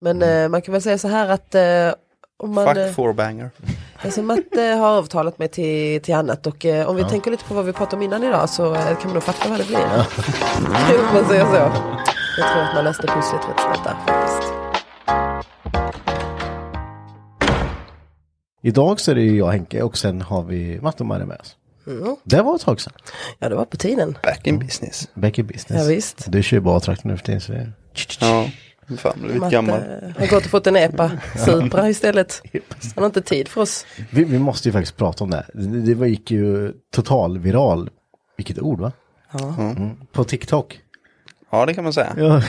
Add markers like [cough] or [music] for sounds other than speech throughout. Men Mm. eh, man kan väl säga så här att eh, om man, eh, Fuck four banger. alltså Matte har avtalat mig till, till annat och eh, om vi tänker lite på vad vi pratade om innan idag så eh, kan man nog fatta vad det blir. [laughs] om man säger så. Jag tror att man löste pusslet rätt snabbt där faktiskt. Idag så är det ju jag och Henke och sen har vi Matte och Maria med oss. Det var ett tag sedan. Ja, det var på tiden. Back in business. Back in business. Ja, visst. Du kör ju bara traktor nu för tiden så det... Ja, fan du är Matte gammal. har gått och fått en [laughs] epa Supra istället. Han har inte tid för oss. Vi, vi måste ju faktiskt prata om det här. Det, det var- gick ju total viral. Vilket ord va? Mm. På TikTok. Ja, det kan man säga. Ja.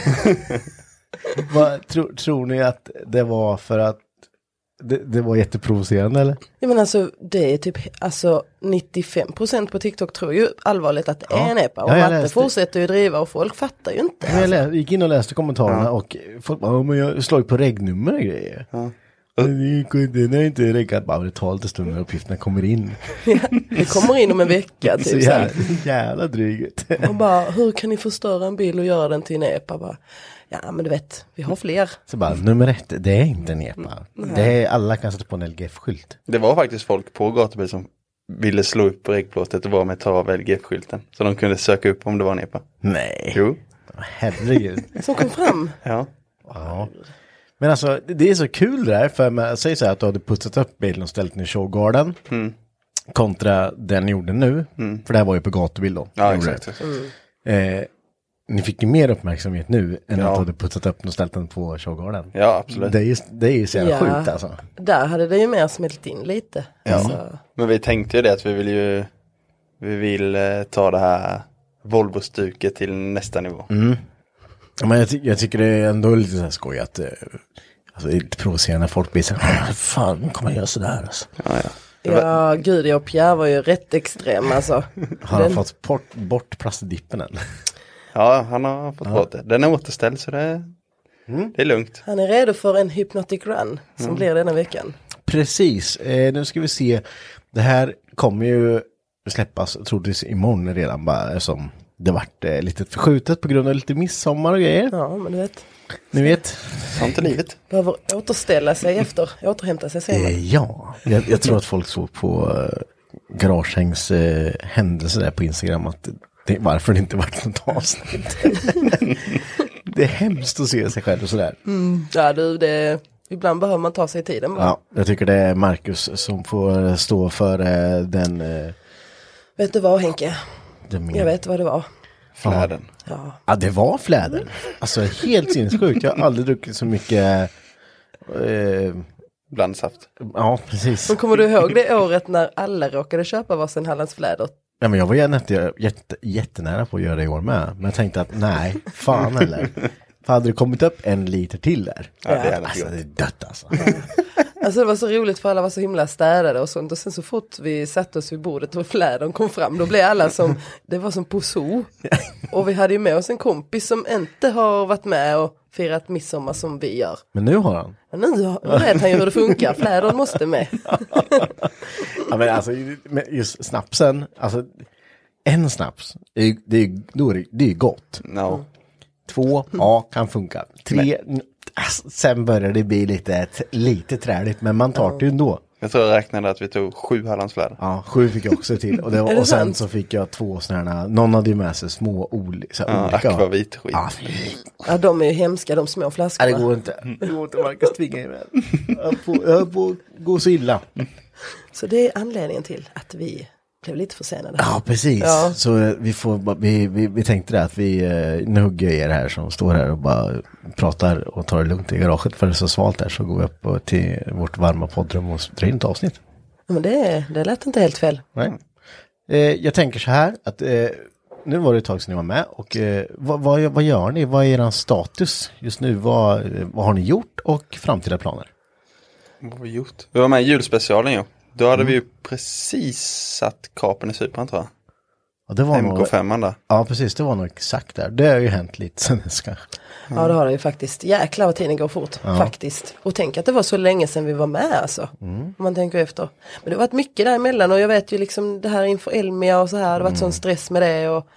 Vad, tro, tror ni att det var för att det, det var jätteprovocerande eller? Ja, men alltså det är typ alltså 95% på TikTok tror ju allvarligt att det är en epa. Och Ja, jag Matte läste. fortsätter ju driva och folk fattar ju inte. Jag lä- gick in och läste kommentarerna och folk bara, "Ja, men jag slog på regnummer och grejer. Men det gick inte- Den har inte reggat, bara det tar lite stund när uppgifterna kommer in. Det kommer in om en vecka [laughs] Så typ. Så här. jävla, jävla drygt. Och bara, hur kan ni förstöra en bil och göra den till en epa? Bara, ja men du vet, vi har fler. [laughs] Så bara, nummer ett, det är inte en epa. Mm. Det är, alla kan sätta på en LGF-skylt. Det var faktiskt folk på gatubil som ville slå upp regplåtet och vara med ta av LGF-skylten. Så de kunde söka upp om det var en epa. Nej. Jo, Herregud. Som kom fram. ja. [laughs] Ja. Men alltså det- det är så kul det där, för man säger så här att du hade putsat upp bilen och ställt den i showgarden. Kontra den ni gjorde nu, för det här var ju på gatubil då. Ja, ni gjorde exakt. exakt. det. Eh, ni fick ju mer uppmärksamhet nu än Ja. att du hade putsat upp den och ställt den på showgarden. Ja, absolut. Det är ju, det är ju så jävla Ja. sjukt alltså. Där hade det ju mer smält in lite. Ja. Alltså, Men vi tänkte ju det att vi vill ju, vi vill eh, ta det här Volvo-stuket till nästa nivå. Mm. Ja, Men jag, ty- jag tycker det är ändå lite så här skoj att eh, alltså, det är lite provocerande när folk blir så här, fan nu kommer jag göra sådär alltså. ja, gud jag och Pierre var ju rätt extrem alltså. Har [laughs] han Den- fått bort, bort plastdippen än? [laughs] Ja, han har fått bort det. Den är återställd så det, det är lugnt. Han är redo för en hypnotic run som Mm. blir denna veckan. Precis, eh, nu ska vi se. Det här kommer ju släppas troligtvis imorgon redan bara som det vart eh, lite förskjutet på grund av lite midsommar och grejer. Ja, men du vet. Ni vet? Sånt är livet. Behöver återställa sig efter, återhämta sig senare. Eh, ja, jag, jag tror att folk såg på eh, Garagehängs eh, händelse där på Instagram att det, varför det inte vart något avsnitt. [laughs] det är hemskt att se sig själv och sådär. Mm. Ja, du, det, ibland behöver man ta sig tiden bara. Ja, jag tycker det är Marcus som får stå för eh, den... Eh, Vet du vad Henke? den Jag vet vad det var. Fläden. Ja. Ja, det var fläder. Alltså helt sinnessjukt. Jag har aldrig druckit så mycket... Eh, Blandsaft. ja, precis. Men kommer du ihåg det året när alla råkade köpa varsin Hallands fläder? Nej, men jag var jätte, jätte, jättenära på att göra det i år med. Men jag tänkte att nej, fan eller. För hade det kommit upp en liter till där. Ja, det är Alltså alltså, det är dött alltså. Alltså det var så roligt för alla var så himla städade och sånt och sen så fort vi satte oss vid bordet och flädern kom fram då blev alla som, det var som på zoo. Och vi hade ju med oss en kompis som inte har varit med och firat midsommar som vi gör. Men nu har han. Men nu har- nu vet han ju hur det funkar, flädern måste med. Ja, men alltså, men just snapsen, alltså en snaps, det är, ju- det är, då är det, det är ju gott. No. Två, ja, kan funka. Tre, n- alltså, sen börjar det bli lite, lite träligt, men man tar det ju ändå. Jag tror jag räknade att vi tog sju Hallandsfläder. Ja, sju fick jag också till. Och, det Är var, det och sen sant? så fick jag två sådana här, någon hade ju med sig små oli, så här, Ja, olika. akvavit skit. Ja, fy. Ja de är ju hemska de små Nej, det flaskorna. går inte. Mm. Det går inte, Marcus tvinga mig. Jag höll på- jag höll på att gå så illa. Så det är anledningen till att vi blev lite försenade. Ja, precis. Ja. Så eh, vi, får, bara- vi, vi, vi tänkte det att vi, eh, nu hugger jag er här som står här och bara pratar och tar det lugnt i garaget för det är så svalt här så går vi upp och till vårt varma poddrum och drar in ett avsnitt. Men det, det lät inte helt fel. Nej. Eh, jag tänker så här att eh, nu var det ett tag sedan ni var med och eh, vad, vad, vad gör ni? Vad är er status just nu? Vad, eh, vad har ni gjort och framtida planer? Vad har vi gjort? Vi var med i julspecialen ju. Då Mm. hade vi ju precis satt kapen i Cypern tror jag. Ja, det var nog, MK5 där. ja, precis. Det var nog exakt där. Det har ju hänt lite sen dess kanske. Ja det har det ju faktiskt. Jäklar vad tiden går fort. Faktiskt. Och tänk att det var så länge sedan vi var med alltså. Mm. Om man tänker efter. Men det har varit mycket däremellan och jag vet ju liksom det här inför Elmia och så här. Det har varit Mm. sån stress med det. Och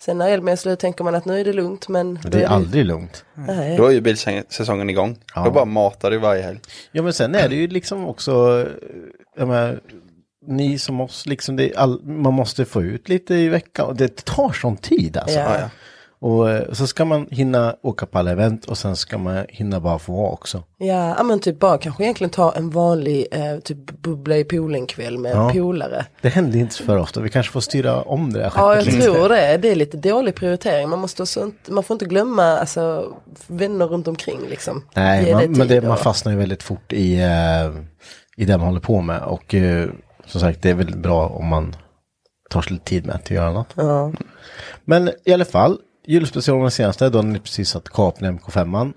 sen när Elmia är slut tänker man att nu är det lugnt. Men då Det är aldrig lugnt. Nej. Då är ju bilsäsongen igång. Då bara matade vi varje helg. Ja men sen är det ju liksom också, eh, jag menar, ni som oss, liksom det, är all, man måste få ut lite i veckan och det tar sån tid alltså. Ja. Ja, Och eh, så ska man hinna åka på alla event och sen ska man hinna bara få vara också. Ja, ja men typ bara kanske egentligen ta en vanlig eh, typ bubbla i poolen kväll med Ja. polare. Det händer inte så för ofta, vi kanske får styra om det här Ja, jag skeppet lite. tror det. Det är lite dålig prioritering. Man, måste också, inte- man får inte glömma alltså, vänner runt omkring. Liksom. Nej, Ge man, men det, tid man och- fastnar ju väldigt fort i, eh, i det man håller på med och eh, som sagt det är väl bra om man tar sig lite tid med att göra något. Ja. Men i alla fall, julspecialen den senaste, då hade ni precis satt kapen i MK5.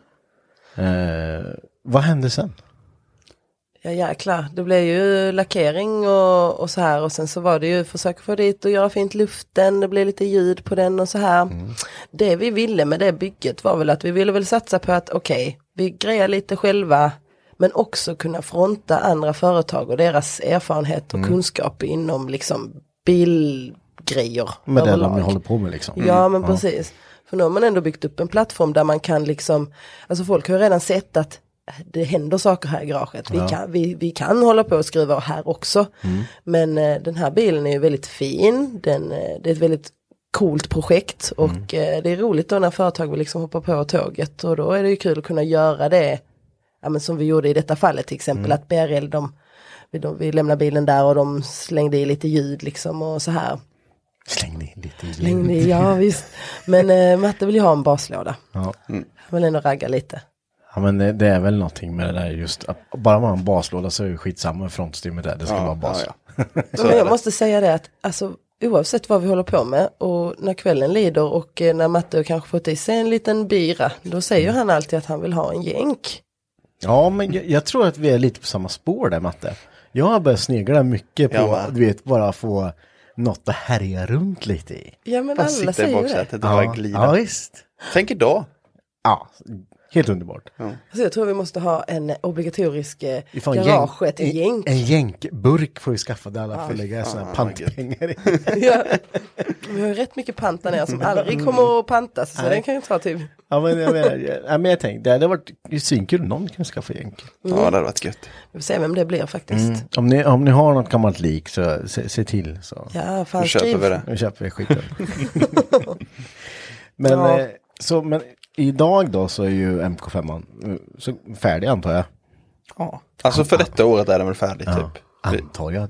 Eh, vad hände sen? Ja jäklar, det blev ju lackering och, och så här och sen så var det ju försöka få dit och göra fint luften, det blev lite ljud på den och så här. Mm. Det vi ville med det bygget var väl att vi ville väl satsa på att okej, vi grejar lite själva men också kunna fronta andra företag och deras erfarenhet och Mm. kunskap inom liksom bilgrejer. Med det de överlag. håller på med liksom. Ja men precis. För nu har man ändå byggt upp en plattform där man kan liksom, alltså folk har ju redan sett att äh, det händer saker här i garaget. Vi, kan, vi, vi kan hålla på och skruva här också. Men eh, den här bilen är ju väldigt fin. Den, eh, det är ett väldigt coolt projekt och eh, det är roligt då när företag vill liksom hoppa på tåget och då är det ju kul att kunna göra det ja, men som vi gjorde i detta fallet till exempel att BRL de, vi, de, vi lämnade bilen där och de slängde i lite ljud liksom och så här. Slängde in lite i Mm, Släng det, [laughs] ja visst. Men eh, Matte vill ju ha en baslåda. Ja. Han vill ändå ragga lite. ja, men det, det är väl någonting med det där just, att bara man har en baslåda så är det skitsamma hur frontstymmet är, det ska vara bas. Ja, ja. Så Men är jag det. måste säga det att alltså, oavsett vad vi håller på med och när kvällen lider och eh, när Matte har kanske fått i sig en liten bira, då Mm. säger han alltid att han vill ha en jänk. Ja, men jag, jag tror att vi är lite på samma spår där, Matte. Jag har börjat snegla mycket på, Jag med. du vet, bara få något att härja runt lite i. Ja men Bara alla sitta i säger ju det. baksätet och bara glida. ja visst. Tänk idag. Ja, helt underbart. Alltså, jag tror vi måste ha en obligatorisk eh, Ifall en garaget, jänk- en [laughs] jänk. En jänkburk får vi skaffa där alla får lägga sådana pantpengar i. ja. Vi har ju rätt mycket pant där nere som Mm. aldrig kommer att pantas, så den kan ju ta typ Ja men jag menar, jag, ja, men jag tänkte, det hade varit ju svinkul om någon kan skaffa jänk. Ja, det hade varit gött. Vi får se vem det blir faktiskt. Mm. Om ni, om ni har något gammalt lik så se, se till så. Ja, Då fan köper skriv. vi det. Nu köper [laughs] vi skiten. men, Ja. eh, så, men idag då så är ju MK5 eh, så färdig antar jag. Ja. Alltså för detta året är den väl färdig typ. Antar jag.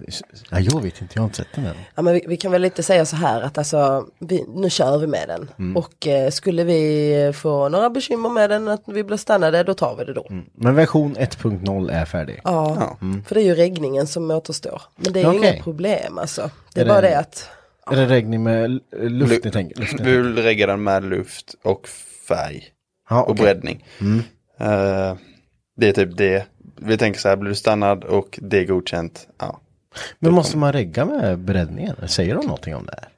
Ja, jag vet inte, jag har inte sett den än. Ja, men vi, vi kan väl lite säga så här att alltså, vi, nu kör vi med den. Mm. Och eh, skulle vi få några bekymmer med den, att vi blir stannade, då tar vi det då. Men version 1.0 är färdig. Ja, för det är ju regningen som återstår. Men det är ju Mm. Okej. inget problem alltså. Det är, Är det- bara det att, Är det regning med l- luft ni tänker? Luft, ni Vi vill regga den med luft och färg Ja, och okej. Mm. breddning. Eh, det är typ det vi tänker så här, blir du stannad och det är godkänt, ja. Men måste man regga med breddningen? Säger de någonting om det här?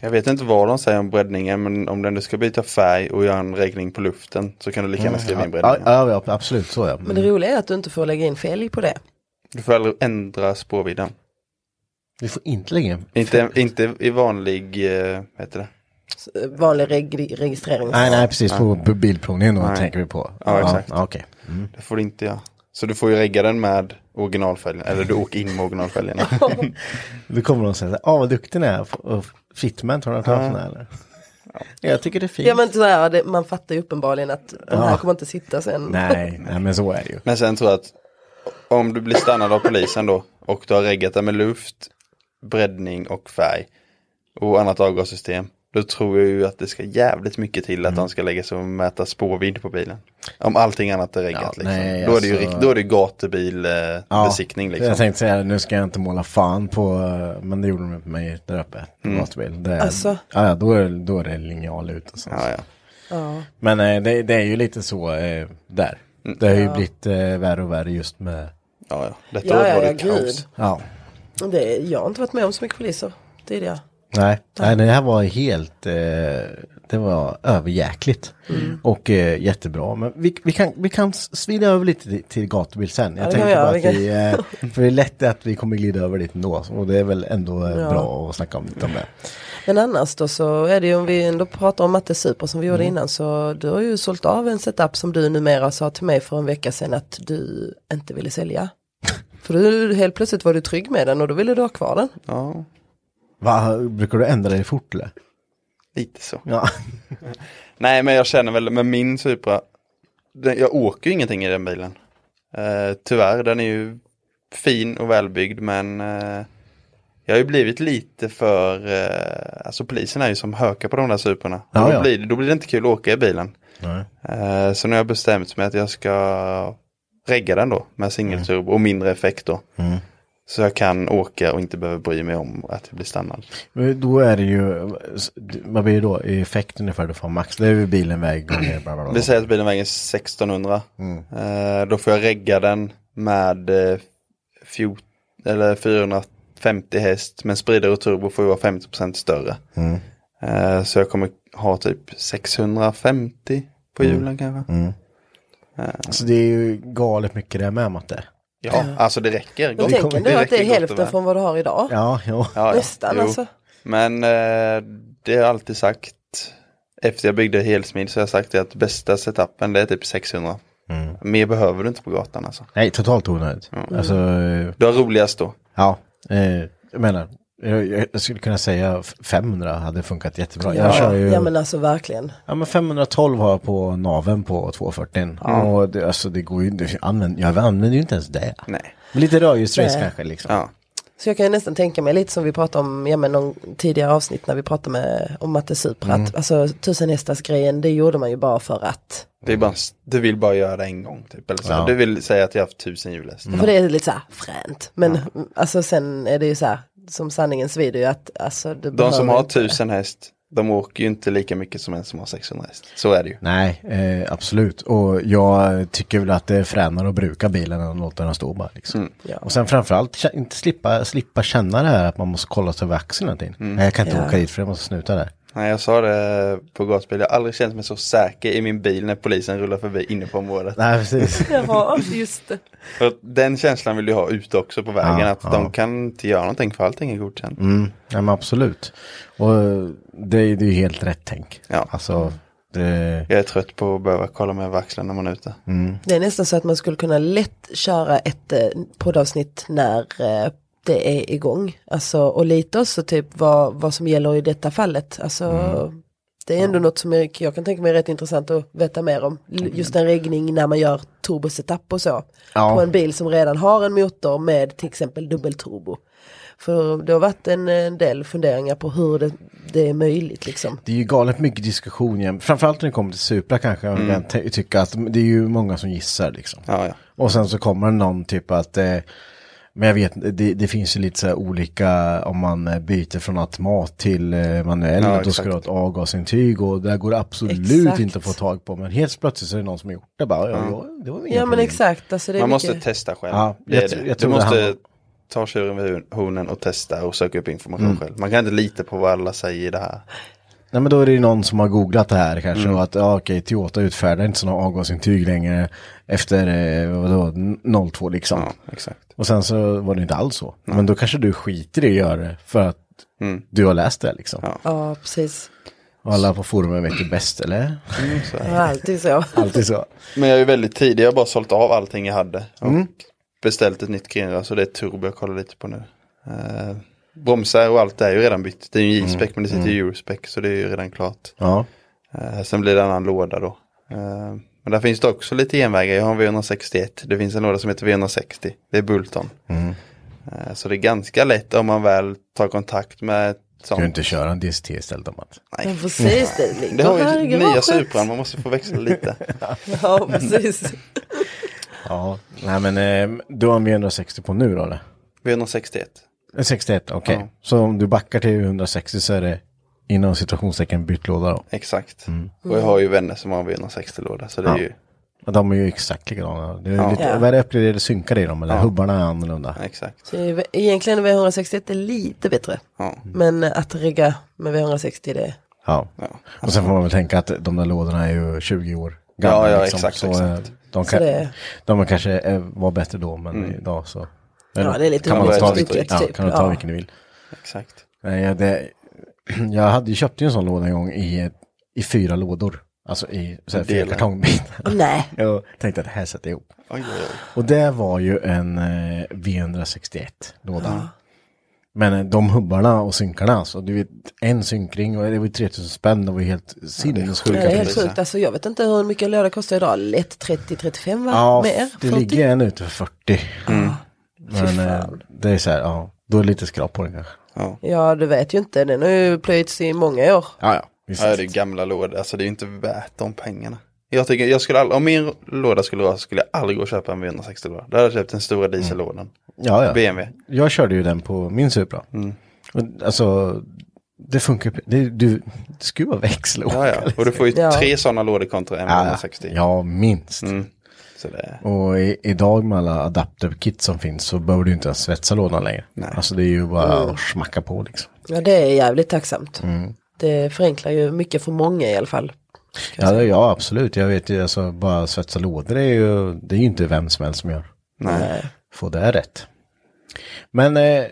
Jag vet inte vad de säger om breddningen, men om den du ska byta färg och göra en regning på luften så kan du lika gärna skriva in Ja, breddningen. ja, ja absolut så ja. Men det roliga är att du inte får lägga in fälg på det. Du får aldrig ändra spårvidden. Du får inte lägga in. Inte, inte i vanlig, eh, vad heter det? S- eh, Vanlig reg- registrering. Nej, nej, precis. På b- bilprovningen då Nej. tänker vi på. Ja, exakt. Ja, okej. Det får du inte göra. Så du får ju regga den med originalfälgen, eller du åker in med originalfälgen. [laughs] Då kommer de och säga, ja "Ah, vad duktig ni är. F- och Fitment, har du hört talas om det här, eller? Jag tycker det är fint. Ja men sådär, det, man fattar ju uppenbarligen att den här Ja. kommer inte sitta sen. nej, nej, men så är det ju. Men sen tror jag att om du blir stannad av polisen då och du har reggat den med luft, breddning och färg och annat avgassystem. Då tror jag ju att det ska jävligt mycket till Mm. att de ska lägga sig och mäta spårvidd på bilen. Om allting annat är reggat Ja, liksom. nej, då, är det ju, alltså- rikt- då är det ju gatubilbesiktning liksom. Jag tänkte säga det, nu ska jag inte måla fan på, men det gjorde de med mig där uppe. Mm. Gatubil. Det, Alltså. ja, ja, då, är, då är det linjal ut och sånt. Ja, ja. Men eh, det, det är ju lite så eh, där. Det har ju blivit eh, värre och värre just med, ja, ja. Detta Ja, året ja, var det ja, kaos. gud. ja. Det, jag har inte varit med om så mycket poliser tidigare. Nej, nej, det här var helt, eh, det var överjäkligt. Mm. Och eh, jättebra, men vi, vi, kan, vi kan svida över lite till- till gatubil sen. Jag Ja, det kan tänker vi bara att göra, vi, eh, [laughs] för det är lätt att vi kommer glida över dit ändå. Och det är väl ändå eh, Ja. bra att snacka om lite om det. Men annars då så är det ju om vi ändå pratar om Matte Super som vi gjorde Mm. innan så du har ju sålt av en setup som du numera sa till mig för en vecka sedan att du inte ville [laughs] sälja. För du, helt plötsligt var du trygg med den och då ville du ha kvar den. Ja, Va, brukar du ändra dig fort eller? lite så. Ja. Nej, men jag känner väl med min Supra. Den, jag åker ju ingenting i den bilen. Eh, tyvärr, den är ju fin och välbyggd, men eh, jag har ju blivit lite för, eh, alltså polisen är ju som hökar på de där Suprorna. Och Ja, då, ja. Blir, det- då blir det inte kul att åka i bilen. Nej. Eh, så nu har jag bestämt mig att jag ska regga den då med singelturbo och mindre effekt då. Mm. Så jag kan åka och inte behöver bry mig om att jag blir stannad. Men Då är det ju, vad blir det då, i effekt ungefär du får max? Det är ju bilen väg gånger bla bla bla. Vi säger att bilen väger 1600. Eh, då får jag regga den med eh, fjort, eller 450 häst. Men spridare och turbo får ju vara 50% större. Eh, så jag kommer ha typ 650 på hjulen kanske. Så det är ju galet mycket det med Matte. Ja, alltså det räcker. Men gott. tänk ändå att det är räcker gott och hälften väl. från vad du har idag. Ja, jo. Ja, ja. Nästan Jo. alltså. Men eh, det har jag alltid sagt. Efter jag byggde helsmid så har jag sagt det att bästa setupen det är typ 600. Mer behöver du inte på gatan alltså. Nej, totalt onödigt. Alltså, eh, Du har roligast då. ja, eh, jag menar, jag, jag- jag skulle kunna säga f- 500 hade funkat jättebra. Jag Ja, kör ju, ja men alltså verkligen. ja, men 512 har jag på naven på 240. Och det, alltså det går ju, det, använd, jag använder ju inte ens det. Nej. Men Lite rörljusrace Nej. kanske liksom. Ja. Så jag kan ju nästan tänka mig lite som vi pratade om, ja men någon tidigare avsnitt när vi pratade med, om Matte Supra, Mm. att alltså tusen hästars grejen det gjorde man ju bara för att. Det är bara, du vill bara göra det en gång typ. Eller så. Mm. Ja. Mm. Du vill säga att jag har haft tusen julhästar. För det är lite såhär fränt. Men alltså sen är det ju såhär, som sanningen svider ju att alltså det De som behöver har inte- tusen häst, de åker ju inte lika mycket som en som har 600 häst. Så är det ju. Nej, eh, absolut. Och jag tycker väl att det är fränare att bruka bilen än att låta den stå bara. Liksom. Ja. Och sen framförallt kä- inte slippa, slippa känna det här att man måste kolla sig över axeln hela tiden. Nej, jag kan inte Mm. Ja. åka dit för jag måste snuta där. Nej, jag sa det på gatubil, jag har aldrig känt mig så säker i min bil när polisen rullar förbi inne på området. Nej, precis. Ja, just det. För den känslan vill du ha ute också på vägen, Ja, att ja. de kan inte göra någonting för allting är godkänt. Mm, ja, men absolut. Och eh, det, är- det är ju helt rätt tänk. Ja. Alltså, det, Jag är trött på att behöva kolla mig över axeln när man är ute. Mm. Det är nästan så att man skulle kunna lätt köra ett eh, poddavsnitt när eh, det är igång. Alltså och lite också typ vad, vad som gäller i detta fallet. Alltså Mm. det är ändå något som jag, jag kan tänka mig är rätt intressant att veta mer om. L- Mm. Just en regning när man gör turbosetup och så. Ja. På en bil som redan har en motor med till exempel dubbelturbo. För det har varit en, en del funderingar på hur det, det är möjligt liksom. det är ju galet mycket diskussion. jäm- Framförallt när det kommer till Supra kanske. Mm. Jag kan ty- tycka att det är ju många som gissar liksom. Ja, ja. Och sen så kommer någon typ att eh, Men jag vet, det, det finns ju lite så här olika om man eh, byter från automat till eh, manuell. Ja, då ska exakt. du ha ett avgasintyg och där går det absolut Exakt. inte att få tag på. Men helt plötsligt så är det någon som har gjort det bara. Ja, ja, det var inga Ja men problem. exakt, alltså det är Man mycket... måste testa själv. Ja, det jag är tr- det. jag du tror det måste handlar- ta tjuren vid hornen och testa och söka upp information Mm. själv. Man kan inte lita på vad alla säger i det här. Nej men då är det ju någon som har googlat det här kanske och att ja, okej, Toyota utfärdar inte sådana avgasintyg längre efter eh, vadå, 02 liksom. Ja, exakt. Och sen så var det inte alls så. Men då kanske du skiter i att göra det för att du har läst det liksom. Ja. Ja precis, Och alla på forumen vet ju bäst eller? Mm, Så. det är alltid så. [laughs] Alltid så. Men jag är ju väldigt tidig, jag har bara sålt av allting jag hade. Och Mm. beställt ett nytt Grenra, så det är turbo jag kollar lite på nu. Eh, bromsar och allt är ju redan bytt. Det är ju en Mm, J-spec men det sitter ju Eurospec så det är ju redan klart. Ja. Eh, sen blir det en annan låda då. Eh, men där finns det också lite genvägar. Jag har en V161. Det finns en låda som heter V160. Det är Bulton. Mm. Eh, så det är ganska lätt om man väl tar kontakt med ett Kan du sånt. inte köra en DST istället om att? Men Mm. precis, det Det ligger har här i ju nya garaget. Supran, man måste få växla [laughs] lite. Ja precis. Ja. Nej men eh, du har en 160 på nu då eller? V161. Eh, 61, okej. Så om du backar till 160 så är det inom situationstecken bytt låda då? Exakt. Och jag har ju vänner som har en V160-låda. Så det är ju Mm. Ja, De är ju exakt likadana. Det är Ja. lite, Ja. Vad är det uppgraderade synkar i dem eller? Hubbarna är annorlunda. exakt. Så är- Egentligen är V161 är lite bättre. Ja. Mm. Men att rigga med V160 det är Ja. Och sen får man väl tänka att de där lådorna är ju 20 år gamla. Ja, ja, liksom. exakt, så, eh, exakt. De, kan, Så det- Mm. de kanske eh, var bättre då, men idag så. Men Ja, det är lite kan man ta, orättvist, vilken, typ, ja, typ, kan du ta ja. vilken du vill. exakt. Nej, jag- det, [clears throat] jag hade ju köpt ju en sån låda en gång i, ett- i fyra lådor. Alltså i så här, fyra Delar. kartongbitar. [laughs] Nej. Jag tänkte att det här sätter jag ihop. Oj, oj, oj. Och det var ju en eh, V161-låda. Men eh, de hubbarna och synkarna, alltså, du vet, en synkring och det var ju 3000 spänn, det var ju helt Det sinnessjuka är helt priser. sjukt, alltså jag vet inte hur mycket en låda kostar idag, lätt 30-35 va? Ja, Mer? det 40? ligger en ute för 40. Mm. Men eh, fan. det är så här, ja, då är det lite skrap på den kanske. Ja. Ja, du vet ju inte, den har ju plöjts i många år. Ja, ja. Visst. Ja, det är gamla lådor. Alltså det är ju inte värt de pengarna. Jag tycker, jag skulle all, om min låda skulle vara så skulle jag aldrig gå och köpa en V160-låda. Då hade jag köpt den stora diesellådan. Mm. Ja, ja. BMW. Jag körde ju den på min Supra. Mm. Och, Alltså, det funkar ju- det, du, det ska ju vara Ja, växelåkare. ja. [laughs] Och du får ju Ja. tre sådana lådor kontra en Ja, 160. liksom. ja, minst. Så det, Och i, idag med alla adapterkit som finns så behöver du inte ens svetsa lådan längre. Alltså det är ju bara att smacka på liksom. Ja, det är jävligt tacksamt. Mm. Det förenklar ju mycket för många i alla fall. Ja, det, ja, absolut. Jag vet ju, alltså bara svetsa lådor är ju, det är ju inte vem som helst som gör. nej. Få det här rätt. Men, eh,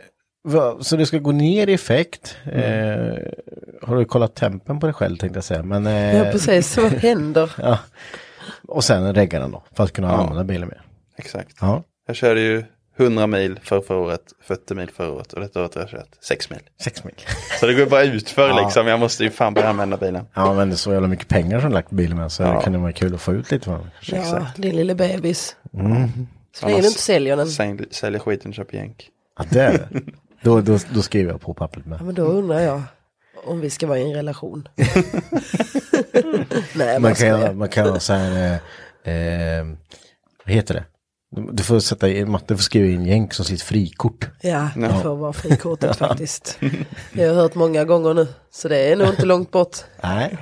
vad- så det ska gå ner i effekt. Eh, har du kollat tempen på dig själv tänkte jag säga. Men, eh, Ja, precis, vad händer? och sen regga den då, för att kunna använda bilen mer. Exakt. Ja. Jag körde ju 100 mil för förra året, 40 mil förra året och detta året har jag kört 6 mil. Sex mil. [laughs] Så det går bara utför liksom. Jag måste ju fan börja använda bilen. Ja, men det är så jävla mycket pengar som lagt på bilen med så Ja. kan det vara kul att få ut lite från den. Ja, din lille bebis. Mm. Så länge Annars- du inte säljer den. Sälj, säljer skiten och köper jänk. Ja, det är det. Då, då, då skriver jag på pappret Ja, med. men då undrar jag om vi ska vara i en relation. [laughs] Nej, Man man kan, göra- ska man kan ha så här, eh, eh, vad heter det? Du- Du får sätta i, Matte får skriva in jänk som sitt frikort. Ja, det får vara [laughs] frikortet faktiskt. Det har jag hört många gånger nu, så det är nog inte långt bort. Nej.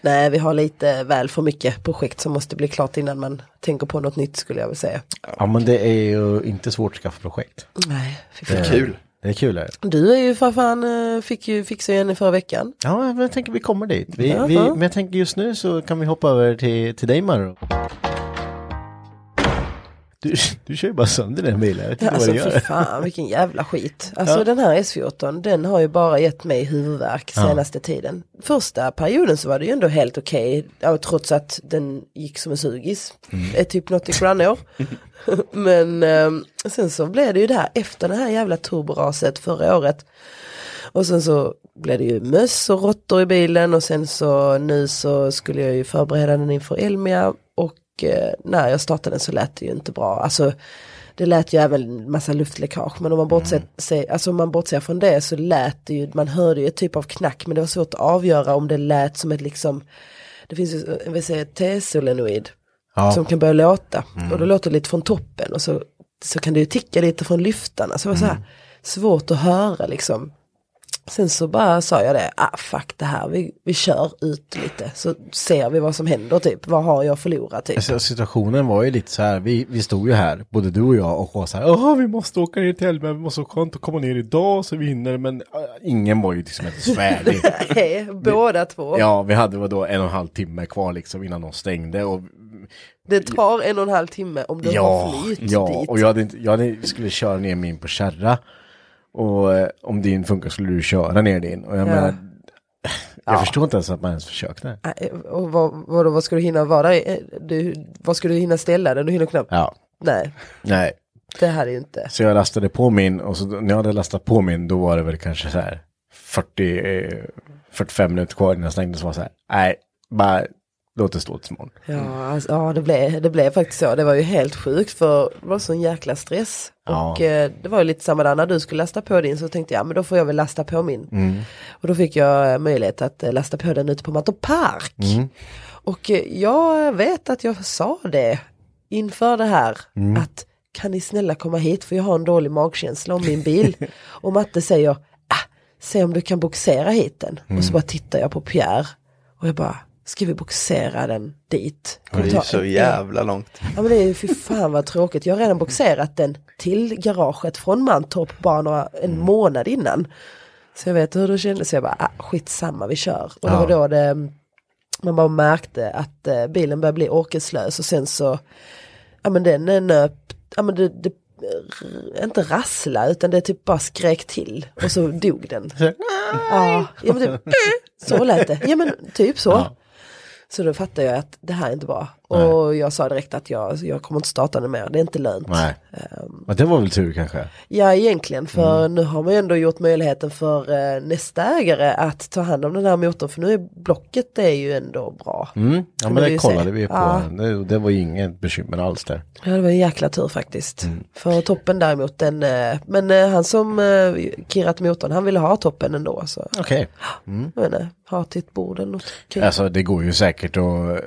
Nej, vi har lite väl för mycket projekt som måste bli klart innan man tänker på något nytt skulle jag vilja säga. Ja, men det är ju inte svårt att skaffa projekt. Nej, fy fan. Kul. Det är kul. Är det? Du är ju för fan, eh, fick ju, fixade ju en i förra veckan. Ja, men jag tänker vi kommer dit. Vi, vi, men jag tänker just nu så kan vi hoppa över till, till dig Maro. Du, du kör ju bara sönder den bilen. Jag vet inte Alltså vad du fy gör. fan vilken jävla skit. Alltså den här S14 den har ju bara gett mig huvudvärk senaste tiden. Första perioden så var det ju ändå helt okej. ja, Trots att den gick som en sugis. Mm. Är typ något i [laughs] grannår. [laughs] Men ehm, sen så blev det ju det här efter det här jävla turboraset förra året. Och sen så blev det ju möss och råttor i bilen och sen så nu så skulle jag ju förbereda den inför Elmia och eh, när jag startade den så lät det ju inte bra. Alltså det lät ju även massa luftläckage men om man bortser, se, alltså om man bortser från det så lät det ju, man hörde ju ett typ av knack men det var svårt att avgöra om det lät som ett liksom, det finns ju eh, en VCT solenoid Ja. som kan börja låta och då låter det lite från toppen och så så kan det ju ticka lite från lyftarna. Så det var så här, svårt att höra liksom. Sen så bara sa jag det, ah fuck det här, vi, vi kör ut lite så ser vi vad som händer typ, vad har jag förlorat typ. Alltså, situationen var ju lite så här, vi, vi stod ju här, både du och jag, och var så här, "Åh, vi måste åka ner till Älmhult, vi måste åka och komma ner idag så vi hinner, men äh, ingen var ju liksom ens [laughs] färdig. [laughs] Hej, båda två. ja, vi hade vadå, en och en halv timme kvar liksom innan de stängde och Det tar en och en halv timme om du ja, har flyt ja, dit. och jag, hade inte, jag hade, skulle köra ner min på kärra och eh, om din funkar skulle du köra ner din och jag menar, jag förstår inte ens att man ens försökte. Nej, Ah, eh, Och vad, vadå, vad ska du hinna vara i? Eh, du, Vad ska du hinna ställa den? Du hinner knappt. Ja, Nej, nej. det här är ju inte. Så jag lastade på min och så då- när jag hade lastat på min då var det väl kanske så här 40, eh, 45 minuter kvar innan jag stängde så var det så här, nej, bara låt det stå till imorgon. Ja, alltså, ja det, blev, det blev faktiskt så. Det var ju helt sjukt för det var sån jäkla stress. Ja. Och eh, det var ju lite samma där när du skulle lasta på din så tänkte jag, men då får jag väl lasta på min. Och då fick jag eh, möjlighet att eh, lasta på den ute på Mantorp Park. Och eh, jag vet att jag sa det inför det här Mm. att kan ni snälla komma hit för jag har en dålig magkänsla om min [laughs] bil. och Matte säger, ah, se om du kan boxera hit den. Och Mm. så bara tittar jag på Pierre och jag bara, ska vi boxera den dit? Det är ju Ta- så jävla långt. Ja men det är ju fy fan vad tråkigt. Jag har redan boxerat den till garaget från Mantorp bara några, Mm. en månad innan. Så jag vet hur det kändes. Så jag bara, ah, skitsamma vi kör. Och det var då det, man bara märkte att eh, bilen började bli orkeslös och sen så, ja men den eh, nöp, ja men det, det eh, inte rassla utan det typ bara skrek till och så dog den. Ja, ja men typ, så lät det. Ja men typ så. Så då fattade jag att det här är inte bra. Och jag sa direkt att jag, jag kommer inte starta den mer, det är inte lönt. Nej. Ehm. Men det var väl tur kanske. Ja egentligen, för Mm. nu har man ju ändå gjort möjligheten för eh, nästa ägare att ta hand om den här motorn. För nu är blocket det är ju ändå bra. Mm. Ja Kunde men vi det ju kollade se. vi på, Ja. det, det var ju inget bekymmer alls där. Ja det var en jäkla tur faktiskt. Mm. För toppen däremot, den, eh, men eh, han som eh, kirrat motorn, han ville ha toppen ändå. Så Mm. Okej. jag vet inte, ha till ett bord eller något. kul. Mm. Alltså det går ju säkert och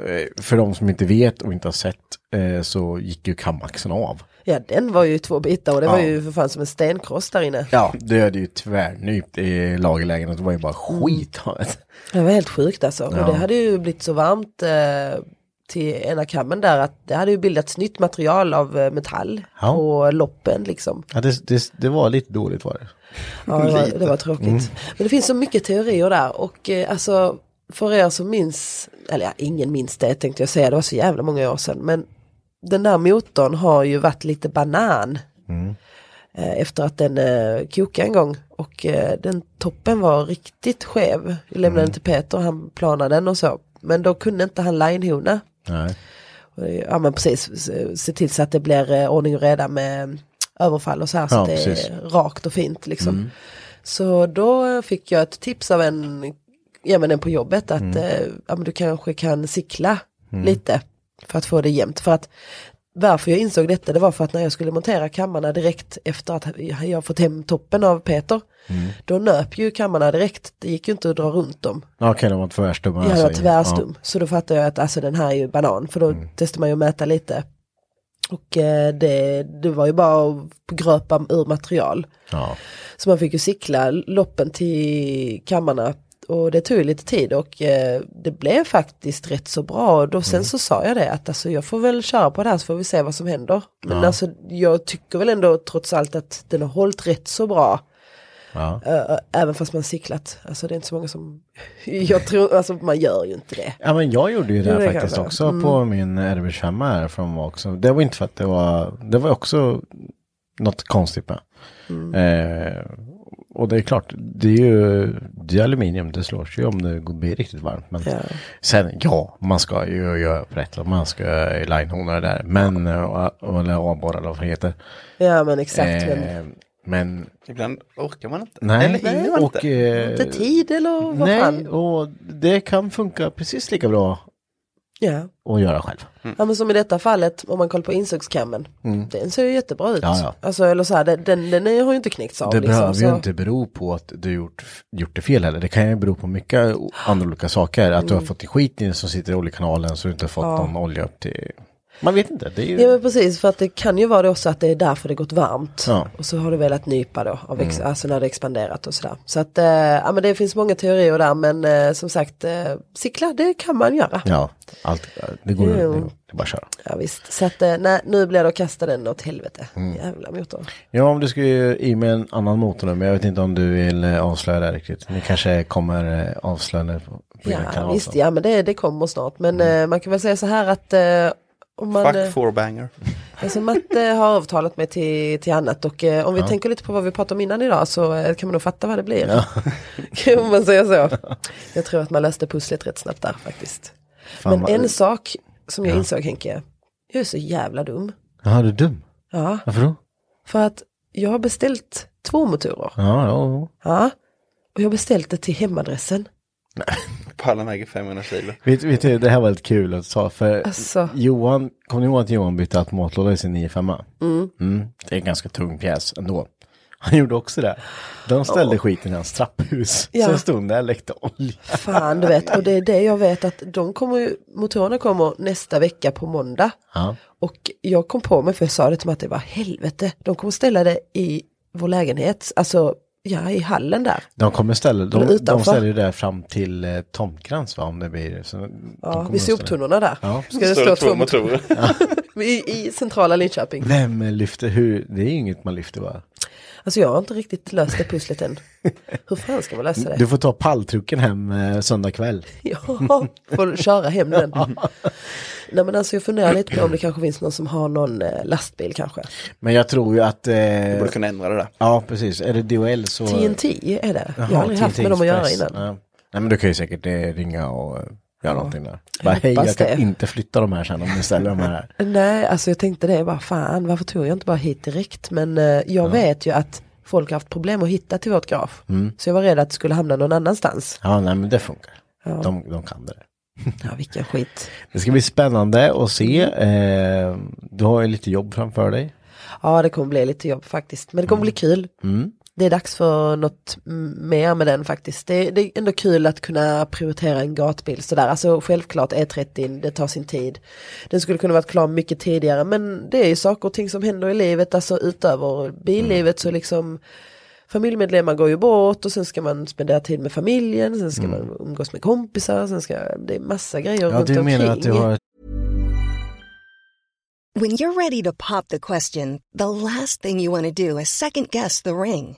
eh, för de som inte vet och inte har sett eh, så gick ju kamaxen av. Ja den var ju i två bitar och det var Ja. ju för fan som en stenkross där inne. Ja, det hade ju tvärnypt i lagerlägenheten. Det var ju bara skit. Det var helt sjukt alltså. Ja. Och det hade ju blivit så varmt eh, till ena kammen där att det hade ju bildats nytt material av eh, metall Ja. på loppen liksom. Ja, det, det, det var lite dåligt var det. Ja, det, var, det var tråkigt. Men det finns så mycket teorier där och eh, alltså för er som minns, eller ja, ingen minns det tänkte jag säga, det var så jävla många år sedan, men den där motorn har ju varit lite banan eh, efter att den eh, kokade en gång och eh, den toppen var riktigt skev. Jag lämnade den till Peter, han planade den och så, men då kunde inte han linehona. Nej. Och, eh, Ja men precis, se- se till så att det blir eh, ordning och reda med mm, överfall och så här så Ja, att det precis. Mm. är rakt och fint liksom. Så då eh, fick jag ett tips av en, ja men en på jobbet Mm. att eh, ja, men du kanske kan cykla lite för att få det jämnt. För att varför jag insåg detta det var för att när jag skulle montera kammarna direkt efter att jag fått hem toppen av Peter, Mm. då nöp ju kammarna direkt, det gick ju inte att dra runt dem. Okej, de var tvärstumma. Ja, jag var alltså. tvärstum. Så då fattar jag att alltså, den här är ju banan, för då testar man ju att mäta lite. Och eh, det, det var ju bara att gröpa ur material. Ja. Så man fick ju cykla loppen till kammarna. Och det tog ju lite tid och eh, det blev faktiskt rätt så bra. Och då, sen Mm. så sa jag det att alltså, jag får väl köra på det här så får vi se vad som händer. Men alltså jag tycker väl ändå trots allt att den har hållit rätt så bra. Ja. Eh, även fast man cyklat. Alltså det är inte så många som, [laughs] jag tror, alltså man gör ju inte det. Ja. ja, men jag gjorde ju det, Jo, det här kan faktiskt jag. också på min RB25 här från också. Det var inte för att det var, det var också något konstigt med. Eh, och det är klart, det är ju det är aluminium, det slås ju om det går- blir riktigt varmt. Men Ja. sen, ja, man ska ju göra upp rätt och man ska linehona det där. Men, ja. eller avborra eller vad det heter. Ja men exakt. men Eh, men Ibland orkar man inte. Nej, Eller hinner man och, inte. eh, inte tid eller vad nej, fan. och det kan funka precis lika bra Ja. att göra själv. ja men som i detta fallet om man kollar på insektskammen. Den ser ju jättebra ut. Mm. Ja, ja. Alltså eller så här, den, den, den är- har ju inte knickts av. Det liksom, behöver så. ju inte bero på att du gjort, gjort det fel heller. Det kan ju bero på mycket Mm. o- andra olika saker. Att du har fått i skit i den som sitter i oljekanalen så du inte har fått någon olja upp till... Man vet inte. Det är ju... Ja men precis, för att det kan ju vara det också att det är därför det gått varmt. Ja. Mm. Och så har du velat nypa då, av ex- alltså när det expanderat och sådär. Så att, eh, ja men det finns många teorier där men eh, som sagt, eh, cykla det kan man göra. Ja, ja, allt, det går, det Jo. går. Det är bara att köra. visst, så att eh, nej, nu blir det att kasta den åt helvete. Mm. Jävla motor. Ja, men du ska ju i med en annan motor nu, men jag vet inte om du vill eh, avslöja det här riktigt. Ni kanske kommer eh, avslöja det på, på Ja er kanal. visst, sen. ja men det, det kommer snart. Men Mm. eh, man kan väl säga så här att eh, om man, eh, Fuck four banger. alltså Matte har avtalat mig till, till annat och eh, om vi tänker lite på vad vi pratade om innan idag så eh, kan man nog fatta vad det blir. [laughs] kan man säga så. Jag tror att man löste pusslet rätt snabbt där faktiskt. Fan, men vad- en sak som jag insåg Henke, jag är så jävla dum. Jaha, du är dum. Ja, Varför då? för att jag har beställt två motorer. Ja, ja, ja. Ja, och jag har beställt det till hemadressen. Pallen väger 500 kilo. Vet, vet du, det här var lite kul att ta för Alltså. Johan, kommer ni ihåg att Johan bytte automatlåda i sin 95 mm. mm. Det är en ganska tung pjäs ändå. Han gjorde också det. De ställde skiten i hans trapphus. Ja. Sen stod den där och läckte olja. Fan du vet, och det är det jag vet att de kommer ju, motorerna kommer nästa vecka på måndag. Ja. Och jag kom på mig, för jag sa det till Matte, vad helvete, de kommer ställa det i vår lägenhet, alltså ja i hallen där. De kommer ställa, Men de, de utanför? ställer ju där fram till eh, Tomtkrans va, om det blir. Så de Ja, kommer vid att ställa- soptunnorna där. Ja. Ska det Står stå det två två motorer [laughs] motorer? i, i centrala Linköping? Vem lyfter hur? Det är ju inget man lyfter bara. Alltså jag har inte riktigt löst det pusslet [laughs] än. Hur fan ska man lösa det? Du får ta palltrucken hem eh, söndag kväll. [laughs] Ja, får köra hem [laughs] den. Nej men alltså jag funderar lite på om det kanske finns någon som har någon eh, lastbil kanske. Men jag tror ju att... Du Eh, borde kunna ändra det där. ja, precis. Är det DHL så... TNT är det. Jaha, jag har aldrig haft TNT med dem att göra Express. innan. Ja. Nej men du kan ju säkert eh, ringa och eh, göra någonting där. Bara hej, hoppas jag kan det. inte flytta de här sen om ni ställer de här. Nej, alltså jag tänkte det, bara fan varför tog jag inte bara hit direkt? Men eh, jag vet ju att folk har haft problem att hitta till vårt garage. Så jag var rädd att det skulle hamna någon annanstans. Ja, nej men det funkar. De, de kan det. där. Ja, vilken skit. Det ska bli spännande att se. Eh, du har ju lite jobb framför dig. Ja, det kommer bli lite jobb faktiskt. Men det Mm. kommer bli kul. Det är dags för något mm, mer med den faktiskt. Det, det är ändå kul att kunna prioritera en gatbil sådär. Alltså självklart E30, det tar sin tid. Den skulle kunna varit klar mycket tidigare men det är ju saker och ting som händer i livet, alltså utöver billivet så Mm. liksom familjemedlemmar går ju bort och sen ska man spendera tid med familjen, sen ska man umgås med kompisar, sen ska, det är massa grejer Mm. Ja, runt du omkring. menar att du har When you're ready to pop the question, the last thing you want to do is second guess the ring.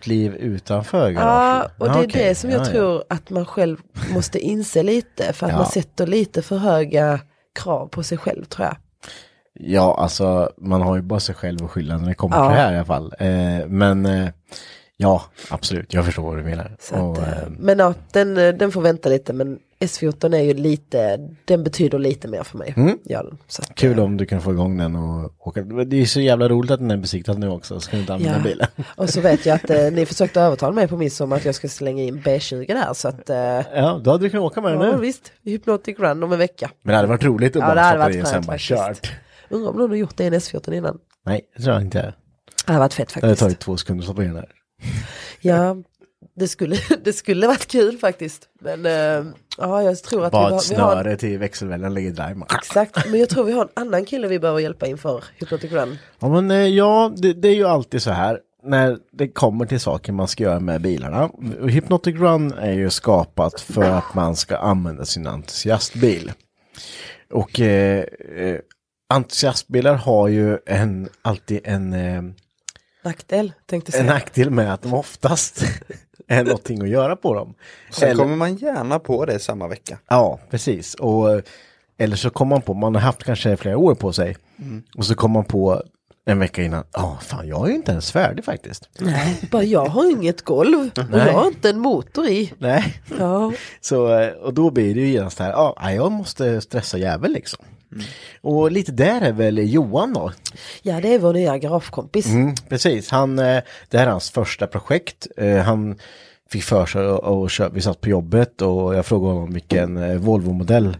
ett liv utanför Ja, garaget. och det är okej. det som jag Ja, ja. tror att man själv måste inse lite för att [laughs] Ja. man sätter lite för höga krav på sig själv tror jag. Ja, alltså man har ju bara sig själv att skylla när det kommer Ja. till det här i alla fall. Eh, men eh, ja, absolut, jag förstår vad du menar. Så att, Och, eh, eh, men ja, den, eh, den får vänta lite men S14 är ju lite, den betyder lite mer för mig. Ja, så att, Mm. eh, kul om du kan få igång den och åka. Men Det är ju så jävla roligt att den är besiktad nu också, så kan du inte använda ja. bilen. Och så vet jag att [laughs] eh, ni försökte övertala mig på midsommar att jag ska slänga in B20 där så att eh, Ja, då hade du kunnat åka med den ja, nu. visst, Hypnotic Run om en vecka. Men det hade varit roligt att Ja, det bara hade stoppa varit i och sen skönt bara faktiskt. kört. Undrar om någon har gjort det i en S14 innan. Nej, det tror jag inte. Det hade varit fett Det hade faktiskt. tagit två sekunder att stoppa in den här. Ja, det skulle, [laughs] det skulle varit kul faktiskt. Men eh, ja, jag tror att vi, Bara ett har- vi har... snöre till växelvällan ligger där. Man- Exakt, men jag tror vi har en annan kille vi behöver hjälpa inför Hypnotic Run. Ja, men eh, ja, det, det är ju alltid så här när det kommer till saker man ska göra med bilarna. Och Hypnotic Run är ju skapat för att man ska använda sin entusiastbil. Och eh, eh, entusiastbilar har ju en, alltid en, eh, Nackdel tänkte jag en säga. nackdel med att de oftast [laughs] är någonting att göra på dem. Sen Eller- kommer man gärna på det samma vecka. Ja, precis. Och, eh, eller så kommer man på, man har haft kanske flera år på sig. Och så kommer man på en vecka innan, ja fan jag är ju inte ens färdig faktiskt. Bara jag har inget golv och jag har inte en motor i. Nej. [laughs] Ja, Så, eh, och då blir det ju genast här, ja nej, jag måste stressa jävel liksom. Och lite där är väl Johan då. ja det är vår nya garagekompis. Mm, precis, han, eh, det här är hans första projekt. Eh, Han fick för sig att- att köpa, vi satt på jobbet och jag frågade honom vilken eh, Volvo-modell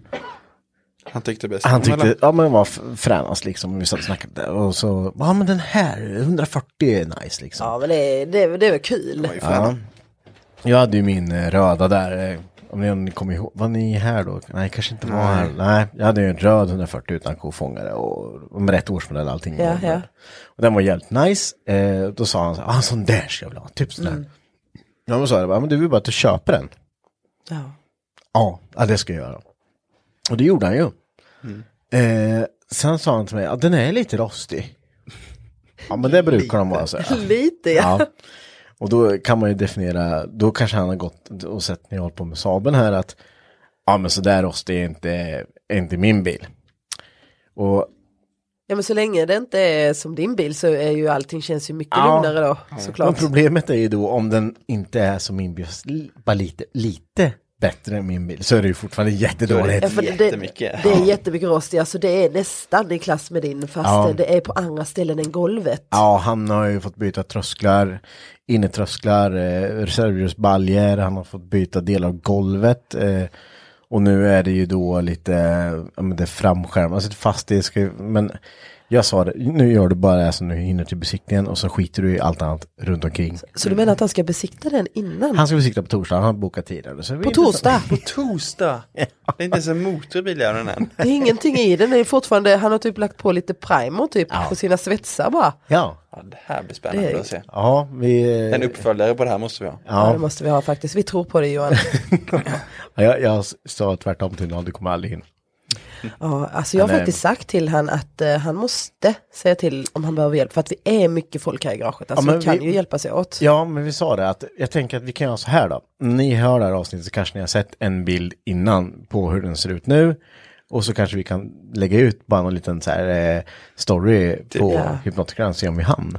Han tyckte bäst Han om tyckte, eller? ja men var f- fränast liksom, vi satt och snackade där. och så, ja men den här, 140 är nice liksom. Ja men det, är- det, är- det är väl kul. Oj, fan. Ja. Jag hade ju min eh, röda där, eh, om ni, om ni kommer ihåg, var ni här då? Nej, kanske inte var här. Nej, jag hade ju en röd 140 utan kofångare och med rätt årsmodell allting. Ja, ja. Och den var jävligt nice. Eh, då sa han så här, ah, en sån där ska jag vilja ha, typ sån där. Mm. Ja men sa jag, bara, men du vill bara att du köper den. Ja. Ja, ja det ska jag göra. Och det gjorde han ju. Eh, sen sa han till mig, ja den är lite rostig. Ja men det brukar de vara så. här. Lite ja. Ja. Och då kan man ju definiera, då kanske han har gått och sett när jag håller på med Saben här att ja men så där rostig är inte, är inte min bil. Och Ja men så länge det inte är som din bil så är ju allting känns ju mycket Ja. lugnare då men såklart. problemet är ju då om den inte är som min bil, bara lite, lite bättre än min bil så är det ju fortfarande jättedåligt. Ja, för det, Jättemycket. det är jättemycket rost, alltså det är nästan i klass med din fast Ja. det är på andra ställen än golvet. Ja, han har ju fått byta trösklar, innertrösklar, eh, reservhjulsbaljor, han har fått byta delar av golvet. Eh, och nu är det ju då lite, ja men det är framskärm, alltså det är fast det ska ju, men jag sa det, nu gör du bara det här som du hinner till besiktningen och så skiter du i allt annat runt omkring. Så du menar att han ska besikta den innan? Han ska besikta på torsdag, han har bokat tid. eller Så det På blir [laughs] torsdag? [laughs] På torsdag! Det är inte ens en motorbil i den än. Det är ingenting i den, det är fortfarande, han har typ lagt på lite primer typ på sina svetsar bara. Ja, Ja, det här blir spännande Det är- att se. ja, vi... eh, En uppföljare på det här måste vi ha. Ja. det måste vi ha faktiskt, vi tror på det [laughs] Johan. Jag, jag sa tvärtom till honom, du kommer aldrig in. Ja, alltså jag har Eller- faktiskt sagt till han att eh, han måste säga till om han behöver hjälp för att vi är mycket folk här i garaget, alltså men vi kan vi- ju hjälpa sig åt. Ja, men vi sa det att jag tänker att vi kan göra så här då. Ni hör det här avsnittet så kanske ni har sett en bild innan på hur den ser ut nu. Och så kanske vi kan lägga ut bara någon liten så här eh, story på Ja. Hypnotic Grand, se om vi hann.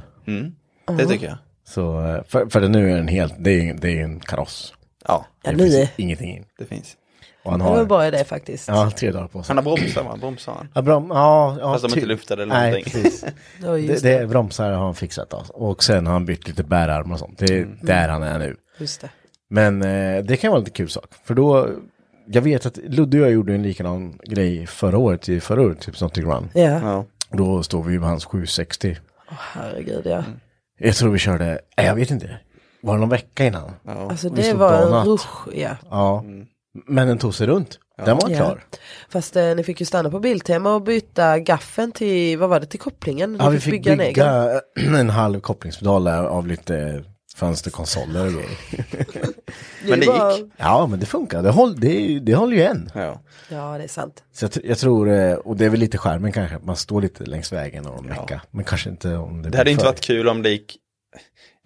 Det tycker jag. Så, eh, för, för nu är den helt, det är, det är en kaross. Ja, Ja, Det nu finns är- ingenting in. det finns. Och han det var har, en bra idé faktiskt. ja, tre dagar på sig. Han har bromsar va? Bromsar han? Ja, brom, ja, ja, Fast de ty- inte luftade eller Nej, någonting. [laughs] precis. Det var ju Det, just, det är bromsar har han fixat alltså. Och sen har han bytt lite bärarm och sånt. Det är Mm. där han är nu. just det. Men eh, det kan vara en lite kul sak. För då, jag vet att Ludde och jag gjorde en likadan grej förra året, i förra året, typ Snotty Run. Ja, Ja. Då står vi med hans 760. Åh, herregud ja. Jag tror vi körde, nej, jag vet inte, var det någon vecka innan? Alltså Vi det stod var banat. en rush, ja. Ja. Men den tog sig runt. Den var Ja. klar. Fast eh, ni fick ju stanna på Biltema och byta gaffen till, vad var det, till kopplingen? Ni Ja, vi fick en egen. bygga [clears throat] en halv kopplingspedal där av lite fönsterkonsoler och grejer. Men det var- gick. Ja, men det funkar. Det, håll, det, är ju- det håller ju än. Ja. Ja, det är sant. Så jag, tr- jag tror, eh, och det är väl lite skärmen kanske, att man står lite längs vägen och meckar. Men kanske inte om det Det hade blir inte för- varit kul om det gick.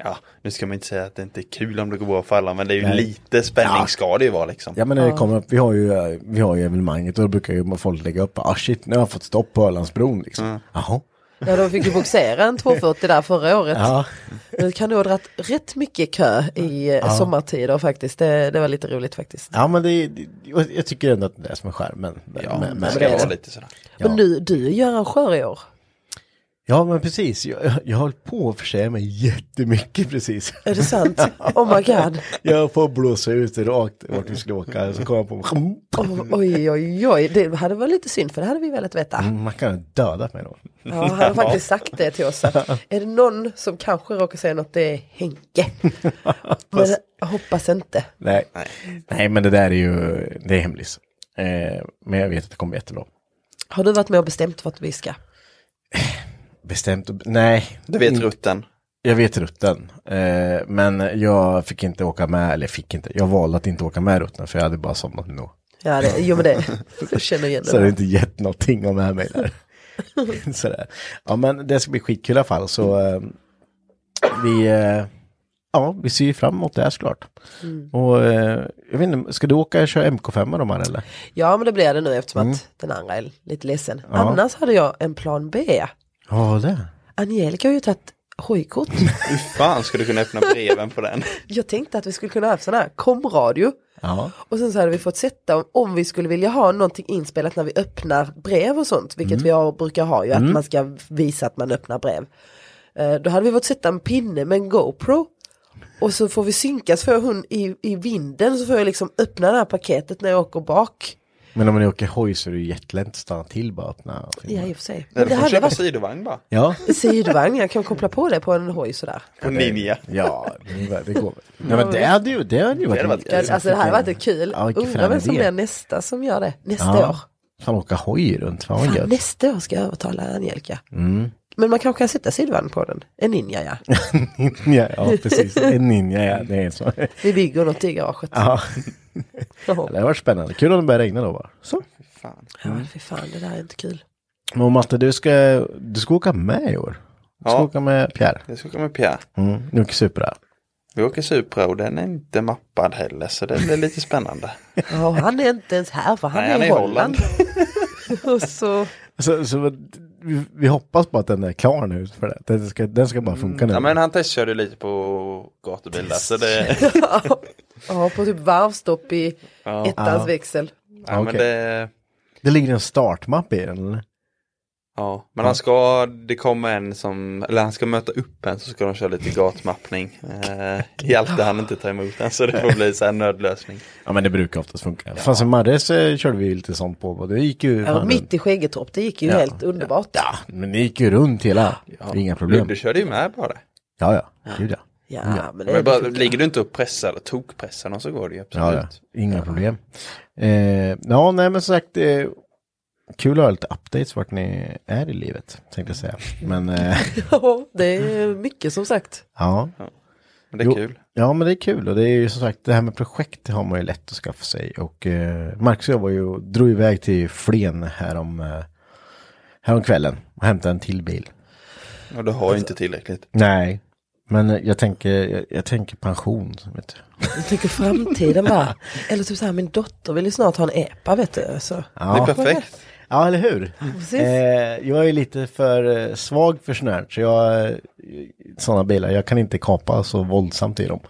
Ja, nu ska man inte säga att det inte är kul om det går bra för alla, men det är ju Nej. lite spänning ska det ju vara liksom. Ja men när det kommer upp, vi har ju, eh, vi har ju evenemanget och då brukar ju folk lägga upp, ah shit nu har jag fått stopp på Ölandsbron liksom. Jaha. Ja, de fick ju boxera en 240 där förra året. Ja. Det kan nog ha dragit rätt mycket kö i eh, sommartider faktiskt. Det, det var lite roligt faktiskt. ja men det, det, jag- jag tycker ändå att det är som en skärmen. Ja, men, det men, ska vara lite sådär. Men du, du är ju arrangör i år. ja men precis, jag, jag- jag höll på att försäga mig jättemycket precis. [laughs] Är det sant? Oh my god. Jag får blåsa ut rakt vart vi skulle åka, så kom jag på [laughs] mig, Oh, oj, oj, oj. Det hade varit lite synd för det hade vi velat veta. man kan ha dödat mig då. Ja, [laughs] han har faktiskt sagt det till oss. Är det någon som kanske råkar säga något, det är [laughs] Henke. Men jag hoppas inte. Nej. Nej men det där är ju, det är hemlis. Eh, men jag vet att det kommer bli jättebra. Har du varit med och bestämt vart vi ska? Bestämt, och- nej. Du vet inte- rutten. Jag vet rutten, eh, men jag fick inte åka med, eller fick inte, jag valde att inte åka med rutten för jag hade bara somnat ändå. [laughs] Ja, det, jo men det, jag känner igen Så det har det. inte gett någonting om det här mig där. [laughs] Sådär. Ja men det ska bli skitkul i alla fall så eh, vi, eh, ja, vi ser ju fram emot det här såklart. Och eh, jag vet inte, ska du åka och köra MK5 med de här eller? Ja men det blir det nu eftersom Mm. att den andra är lite ledsen. Annars hade jag en plan B. Ja det. Angelica har ju tagit [laughs] hojkort. Hur fan ska du kunna öppna breven på den? jag tänkte att vi skulle kunna ha sån här komradio. Ja. Och sen så hade vi fått sätta om, om vi skulle vilja ha någonting inspelat när vi öppnar brev och sånt, vilket vi har, brukar ha ju, att man ska visa att man öppnar brev. Eh, då hade vi fått sätta en pinne med en GoPro och så får vi synkas för hon i, i vinden så får jag liksom öppna det här paketet när jag åker bak. Men om ni åker hoj så är det ju jättelätt att stanna till bara och öppna. och filma. Ja i och för sig. Men Eller det får hade köpa varit sidovagn bara. Ja. [laughs] sidvagn, jag kan koppla på det på en hoj sådär. På ninja. Ja, det- det går. Nej, men det hade ju, det hade ju varit, hade varit Ja, alltså det här hade varit kul. Ja, vilken Undrar vem frän som idé. blir nästa som gör det nästa Ja. år. Fan åka hoj runt, fan vad Fan, gött. nästa år ska jag övertala Angelica. Men man kanske kan sätta sidvagn på den. En ninja ja. [laughs] Ninja, ja precis. En ninja, ja. Det är så. Vi bygger något i garaget. Ja. Det har varit spännande. Kul om det börjar regna då bara. Så. Fan. Ja, fy fan, det där är inte kul. Men Matte, du ska, du ska åka med i år. Du ska Ja. åka med Pierre. Det ska komma Pierre. Mm. Nu åker Supra. Vi åker Supra och den är inte mappad heller så det blir lite spännande. Ja, och han är inte ens här för han, Nej, är, [laughs] han är i i Holland. [laughs] Holland. och så, Så, så vi, vi hoppas på att den är klar nu. För det. Den, ska, den ska bara funka nu. Ja men han testkörde lite på gatubil där så det, ja, på typ varvstopp i ettans växel. [laughs] ja, men Okej. det, Det ligger en startmapp i den. eller? ja. Men han ska, det kommer en som, eller han ska möta upp en så ska de köra lite gatmappning. Eh, Hjalte han inte ta emot den så det får bli så här nödlösning. Ja men det brukar oftast funka. Fan sen Marres eh, körde vi ju lite sånt på. Det gick ju Ja, fan mitt i Skäggetorp, det gick ju helt underbart. Ja, men det gick ju runt hela. Inga problem. Du körde ju med bara. Ja, ja. Gud ja. Ja, men det, Men bara, funkar. ligger du inte och pressar eller tokpressar någon så går det ju ja, ja. absolut. Inga problem. Eh, ja, nej men som sagt. Eh, kul att ha lite updates vart ni är i livet. Tänkte jag säga. Men eh, [laughs] [laughs] Ja, det är mycket som sagt. ja. Men det är Jo, kul. Ja, men det är kul och det är ju som sagt det här med projekt det har man ju lätt att skaffa sig och eh, Marcus och jag var ju, drog iväg till Flen härom, eh, härom kvällen och hämtade en till bil. Och du har ju inte tillräckligt. Nej, men eh, jag tänker, jag, jag tänker pension. Vet du. Jag tänker framtiden bara. Eller typ så här, min dotter vill ju snart ha en epa vet du. Så. Det är perfekt. Ja, eller hur? Precis. Eh, jag är lite för eh, svag för sånt här, så jag, eh, sådana bilar, jag kan inte kapa så våldsamt i dem.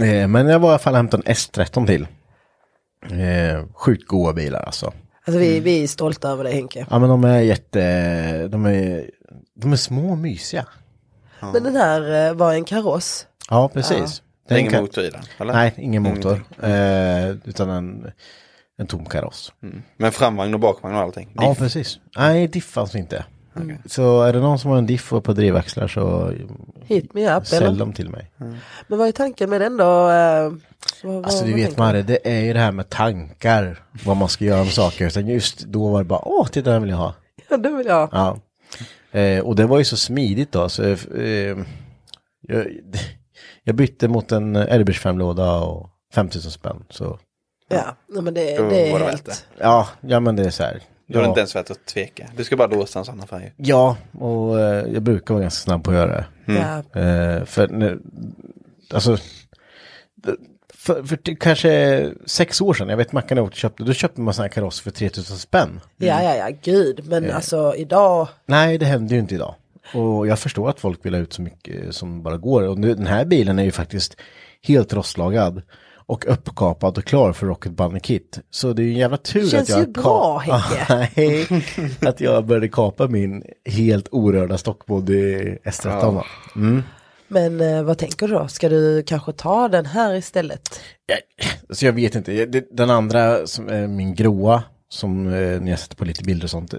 Nej. Eh, men jag var i alla fall och hämtade en S13 till. Eh, sjukt goa bilar alltså. Alltså vi, vi är stolta över det Henke. Ja men de är jätte, de är, de är små och mysiga. Men den här eh, var en kaross. Ja precis. Det är ingen kan- motor i den, eller? Nej, ingen motor. Eh, utan en, en tom kaross. Men framvagn och bakvagn och allting. Ja precis. Nej, diff fanns inte. Så är det någon som har en diff och på drivaxlar så Hit me up sälj eller? dem till mig. Mm. Men vad är tanken med den då? eh, vad- vad- Alltså du vad vet tänker du? Marre, det är ju det här med tankar. Vad man ska göra med saker. Utan just då var det bara, åh titta den vill jag ha. Ja, det vill jag. Ja. Eh, och det var ju så smidigt då. Så, eh, jag, jag bytte mot en Airbus 5-låda och 5000 spänn. Så Ja, nej, men det, Då det är var det värt helt... ja, ja men det är så här. Då är det Ja, inte ens värt att tveka. Du ska bara låsa en sån här färg. ja och eh, jag brukar vara ganska snabb på att göra det. Mm. Ja, Eh, för nu, alltså, det- för, för typ kanske sex år sedan, jag vet Mackan jag åkte och köpte, då köpte man sån här kaross för 3000 spänn. ja, ja, ja, gud, men alltså idag... Nej, det händer ju inte idag. Och jag förstår att folk vill ha ut så mycket eh, som bara går. Och nu, den här bilen är ju faktiskt helt rostlagad och uppkapad och klar för Rocket Bunny Kit. Så det är ju en jävla tur Det känns att jag... ju bra, ka- Henke. [laughs] Nej, att jag började kapa min helt orörda stockbody S13. va? Men eh, vad tänker du då? Ska du kanske ta den här istället? Så jag vet inte. Jag- det- Den andra, som är min gråa, som eh, ni har sett på lite bilder och sånt,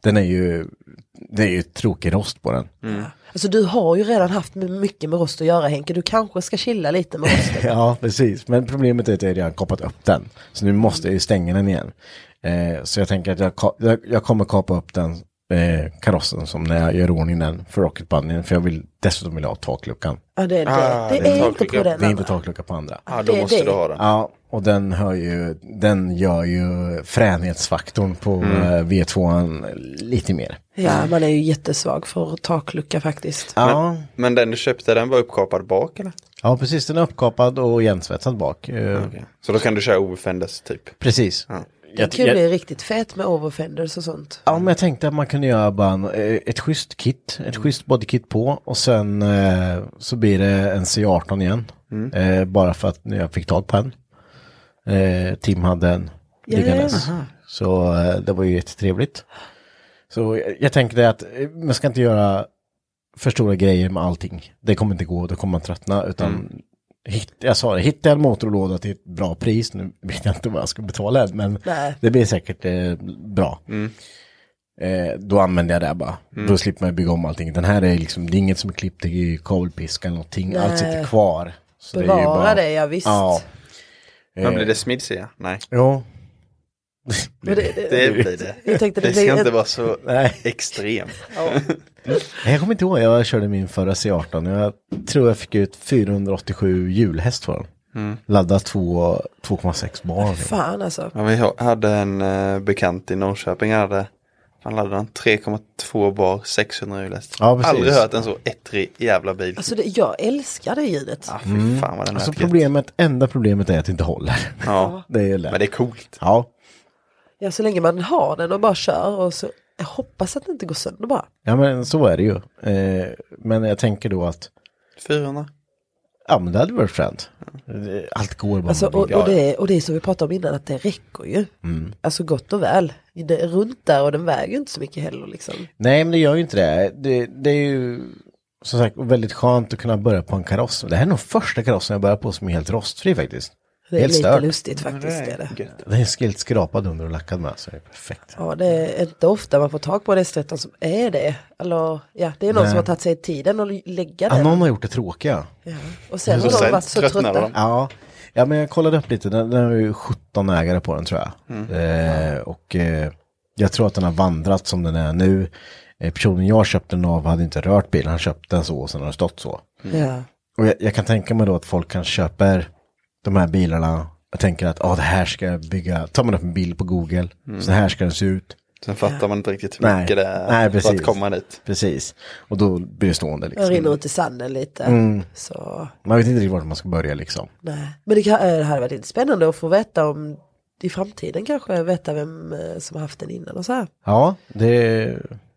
den är ju, det är ju tråkig rost på den. Mm. Alltså du har ju redan haft med- mycket med rost att göra Henke, du kanske ska chilla lite med rosten. [laughs] Ja, precis. Men problemet är att jag redan kapat upp den. Så nu måste jag ju stänga den igen. Eh, så jag tänker att jag, ka- jag, jag kommer kapa upp den eh, karossen som när jag gör i ordning den för Rocket Bunny, för jag vill dessutom vill ha takluckan. Ja, det är det. Ah, det, det är är inte på taklucka. den Det är inte andra. taklucka på andra. Ja, då Det är måste det. du ha den. Ja, och den, hör ju, den gör ju fränhetsfaktorn på eh, V2 lite mer. Ja, man är ju jättesvag för taklucka faktiskt. Mm. Ja, Men den du köpte, den var uppkapad bak eller? ja precis. Den är uppkapad och igensvetsad bak. Eh, Så då kan du köra ofendes typ. Precis. Den Jag- kan ju jag- bli riktigt fet med overfenders och sånt. Ja, men jag tänkte att man kunde göra bara en, eh, ett schysst kit, ett schysst bodykit på och sen eh, så blir det en C18 igen. Eh, bara för att jag fick tag på en. Eh, Tim hade en liggandes. Så eh, det var ju jättetrevligt. Så jag, jag tänkte att eh, man ska inte göra för stora grejer med allting. Det kommer inte gå, då kommer man tröttna. Utan hit, jag sa det, hitta en motorlåda till ett bra pris. Nu vet jag inte vad jag ska betala än, men Nej. det blir säkert eh, bra. Mm. Eh, då använder jag det här bara. Då slipper man bygga om allting. Den här är liksom, det är inget som är klippt i kabelpiska eller någonting. Allt sitter kvar. Så det är ju Bevara det, ja, visst. Ja. Eh. Men blir det smidsiga? Nej. Jo. [laughs] Men det, det, Det blir det. jag tänkte det, Det ska blir inte ett, vara så eh, Nej. extremt. Nej, Jag kommer inte ihåg, jag körde min förra C18. Jag tror jag fick ut 487 hjulhäst för den. Ladda två- 2,6 bar. Mm. fan alltså. Ja, vi ha- hade en eh, bekant i Norrköping, han hade, han hade den 3,2 bar 600 hjuläst. Ja, precis. Aldrig hört en så ettrig jävla bil. Alltså det, jag älskar det ljudet. ah, fy fan vad den Alltså lät gött. problemet, enda problemet är att det inte håller. [laughs] Ja, Det är ju lätt. men det är coolt. Ja. Ja, så länge man har den och bara kör och så jag hoppas att det inte går sönder bara. ja, men så är det ju. Eh, men jag tänker då att 400. Ja men det hade varit fränt. Det- Allt går bara. Alltså, med och, video. och, det, och det är som vi pratade om innan, att det räcker ju. Alltså gott och väl. Det är runt där och den väger ju inte så mycket heller liksom. Nej men det gör ju inte det. det. Det är ju som sagt väldigt skönt att kunna börja på en kaross. Det här är nog första karossen jag börjar på som är helt rostfri faktiskt. Det är helt lite stört. lustigt faktiskt. Det är det. Den är helt skrapad under och lackad med så det är perfekt. Ja, det är inte ofta man får tag på en S13 som är det. Eller ja, det är någon som har tagit sig tiden att lägga Ja, den. någon har gjort det tråkiga. Ja. Och sen har Och de sen varit så tröttnade trötta. de. Ja. ja men jag kollade upp lite. Den, den har ju 17 ägare på den tror jag. Eh, och eh, jag tror att den har vandrat som den är nu. Eh, personen jag köpte den av hade inte rört bilen. Han köpte den så och sen har den stått så. Ja. Och jag, jag kan tänka mig då att folk kanske köper de här bilarna och tänker att ah det här ska jag bygga. Tar man upp en bild på Google, så här ska den se ut. Sen fattar man inte riktigt hur Nej. mycket det är Nej, för precis. att komma dit. Precis. Och då blir det stående Jag liksom. rinner ut i sanden lite. Så, Man vet inte riktigt vart man ska börja liksom. nej. Men det, kan, eh, det hade varit lite spännande att få veta om i framtiden kanske veta vem eh, som har haft den innan och så här. Ja, det,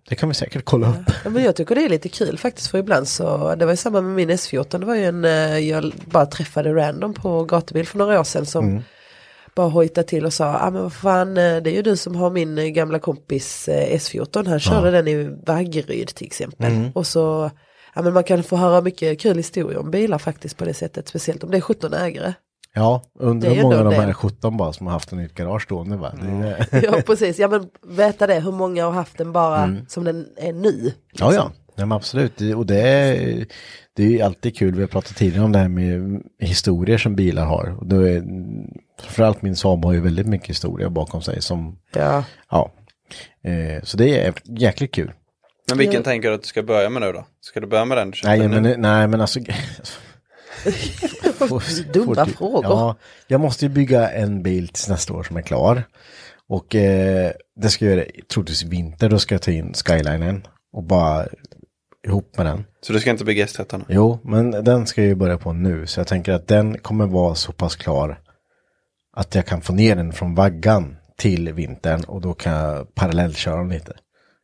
det kan vi säkert kolla upp. Ja, Men jag tycker det är lite kul faktiskt för ibland så, det var ju samma med min S14, det var ju en, eh, jag bara träffade random på gatubil för några år sedan som Mm. bara hojtade till och sa, ja ah, men vad fan eh, det är ju du som har min eh, gamla kompis eh, S14, han körde den i Vaggeryd till exempel. Mm. Och så, ja men man kan få höra mycket kul historier om bilar faktiskt på det sättet, speciellt om det är 17 [laughs] ägare. Ja, undrar Det är hur många av ändå de här det. 17 bara som har haft den i ett garage stående va? Det är, ja precis, ja men veta det, hur många har haft den bara som den är ny. Mm. liksom. Ja, ja. Nej, men absolut. Det- Och det är, det är ju alltid kul. Vi har pratat tidigare om det här med historier som bilar har. Och då är, framförallt min Saab har ju väldigt mycket historia bakom sig som, Ja. ja. Eh, så det är jäkligt kul. Men vilken tänker du att du ska börja med nu då? Ska du börja med den du köpte Nej, nu? men, nej, men alltså. [laughs] Får- Dumma får- frågor. Ja, jag måste ju bygga en bil tills nästa år som är klar. Och eh, det ska jag göra troligtvis i vinter. Då ska jag ta in skylinen och bara ihop med den. Så du ska inte bygga S13? nu? Jo, men den ska jag ju börja på nu. Så jag tänker att den kommer vara så pass klar att jag kan få ner den från vaggan till vintern och då kan jag parallellköra den lite.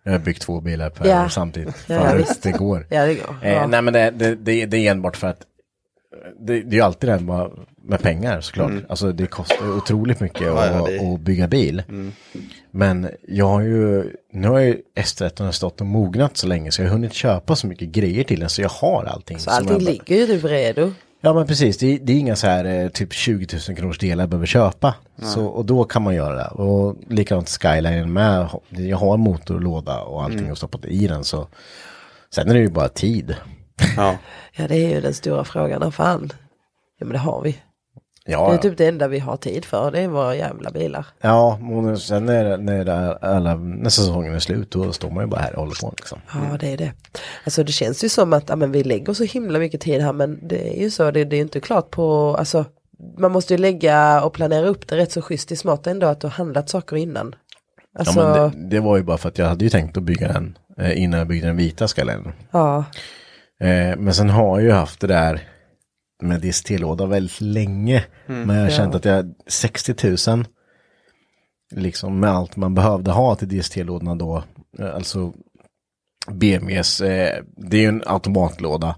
Jag har byggt två bilar per Ja. år samtidigt. Ja, ja, Förut, visst. det går. Ja, det går. Eh, Ja. Nej men det, det, det, det är enbart för att det, det är ju alltid det här med, med pengar såklart. Alltså det kostar ju otroligt mycket Mm. Ja, ja, att, det- Mm. att bygga bil. Men jag har ju, nu har ju S13 stått och mognat så länge så jag har hunnit köpa så mycket grejer till den så jag har allting. Så som allting jag be- ligger ju typ redo. Ja men precis, det, det är inga så här eh, typ 20 000 kronors delar jag behöver köpa. Så, och då kan man göra det. Och likadant Skyline med, jag har motor och låda och allting Mm. och stoppat i den så. Sen är det ju bara tid. Ja. Ja det är ju den stora frågan, ja, fan. Ja men det har vi. Ja, Det är ja. typ det enda vi har tid för, det är våra jävla bilar. ja men sen när, när det- alla, när säsongen är slut då står man ju bara här och håller på liksom. Ja, det är det. Alltså det känns ju som att ja, men vi lägger så himla mycket tid här, men det är ju så, det, det är ju inte klart på, alltså man måste ju lägga och planera upp det rätt så schysst i smart ändå att du har handlat saker innan. Alltså, Ja, ja, men det, det var ju bara för att jag hade ju tänkt att bygga den eh, innan jag byggde den vita skallen. Eh, men sen har jag ju haft det där med distillåda väldigt länge. Mm. men jag har känt att jag 60 000 liksom med allt man behövde ha till distillådorna då. eh, Alltså BMWs, eh, det är ju en automatlåda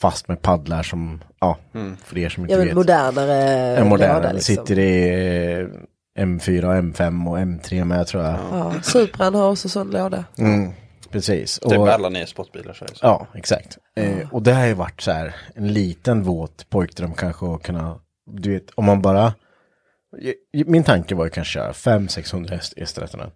fast med paddlar som, ja, för er som inte Mm. ja men vet. modernare. en modernare, låda, liksom. sitter i eh, M4, och M5 och M3 med tror jag. Ja, Supran har också sån låda. Mm. Precis. Typ Och- alla nya sportbilar så är det så. Ja, exakt. Eh, och det har ju varit så här en liten våt pojkdröm kanske att kunna, du vet, om man bara, min tanke var ju kanske köra 500-600 häst- hästrätterna.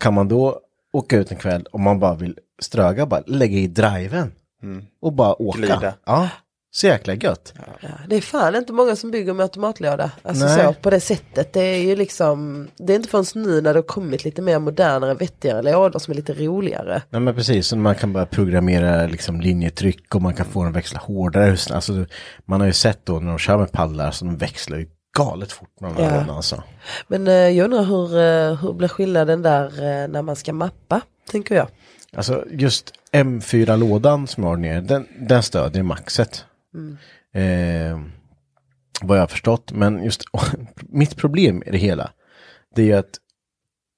Kan man då åka ut en kväll om man bara vill ströga, bara lägga i driven Mm. och bara åka. Glida. Ja, så jäkla gött. Ja, det är fan inte många som bygger med automatlåda. Alltså Nej. så, på det sättet. Det är ju liksom, det är inte förrän nu när det har kommit lite mer modernare, vettigare lådor som är lite roligare. Nej men precis, så man kan börja programmera liksom linjetryck och man kan få den att växla hårdare. Just- Alltså, man har ju sett då när de kör med paddlar så de växlar ju galet fort med de här Ja. lådorna alltså. Men eh, jag undrar hur, eh, hur blir skillnaden där eh, när man ska mappa, tänker jag. Alltså just M4-lådan som jag har ner, den, den stödjer maxet. Eh, vad jag har förstått, men just [laughs] mitt problem i det hela, det är ju att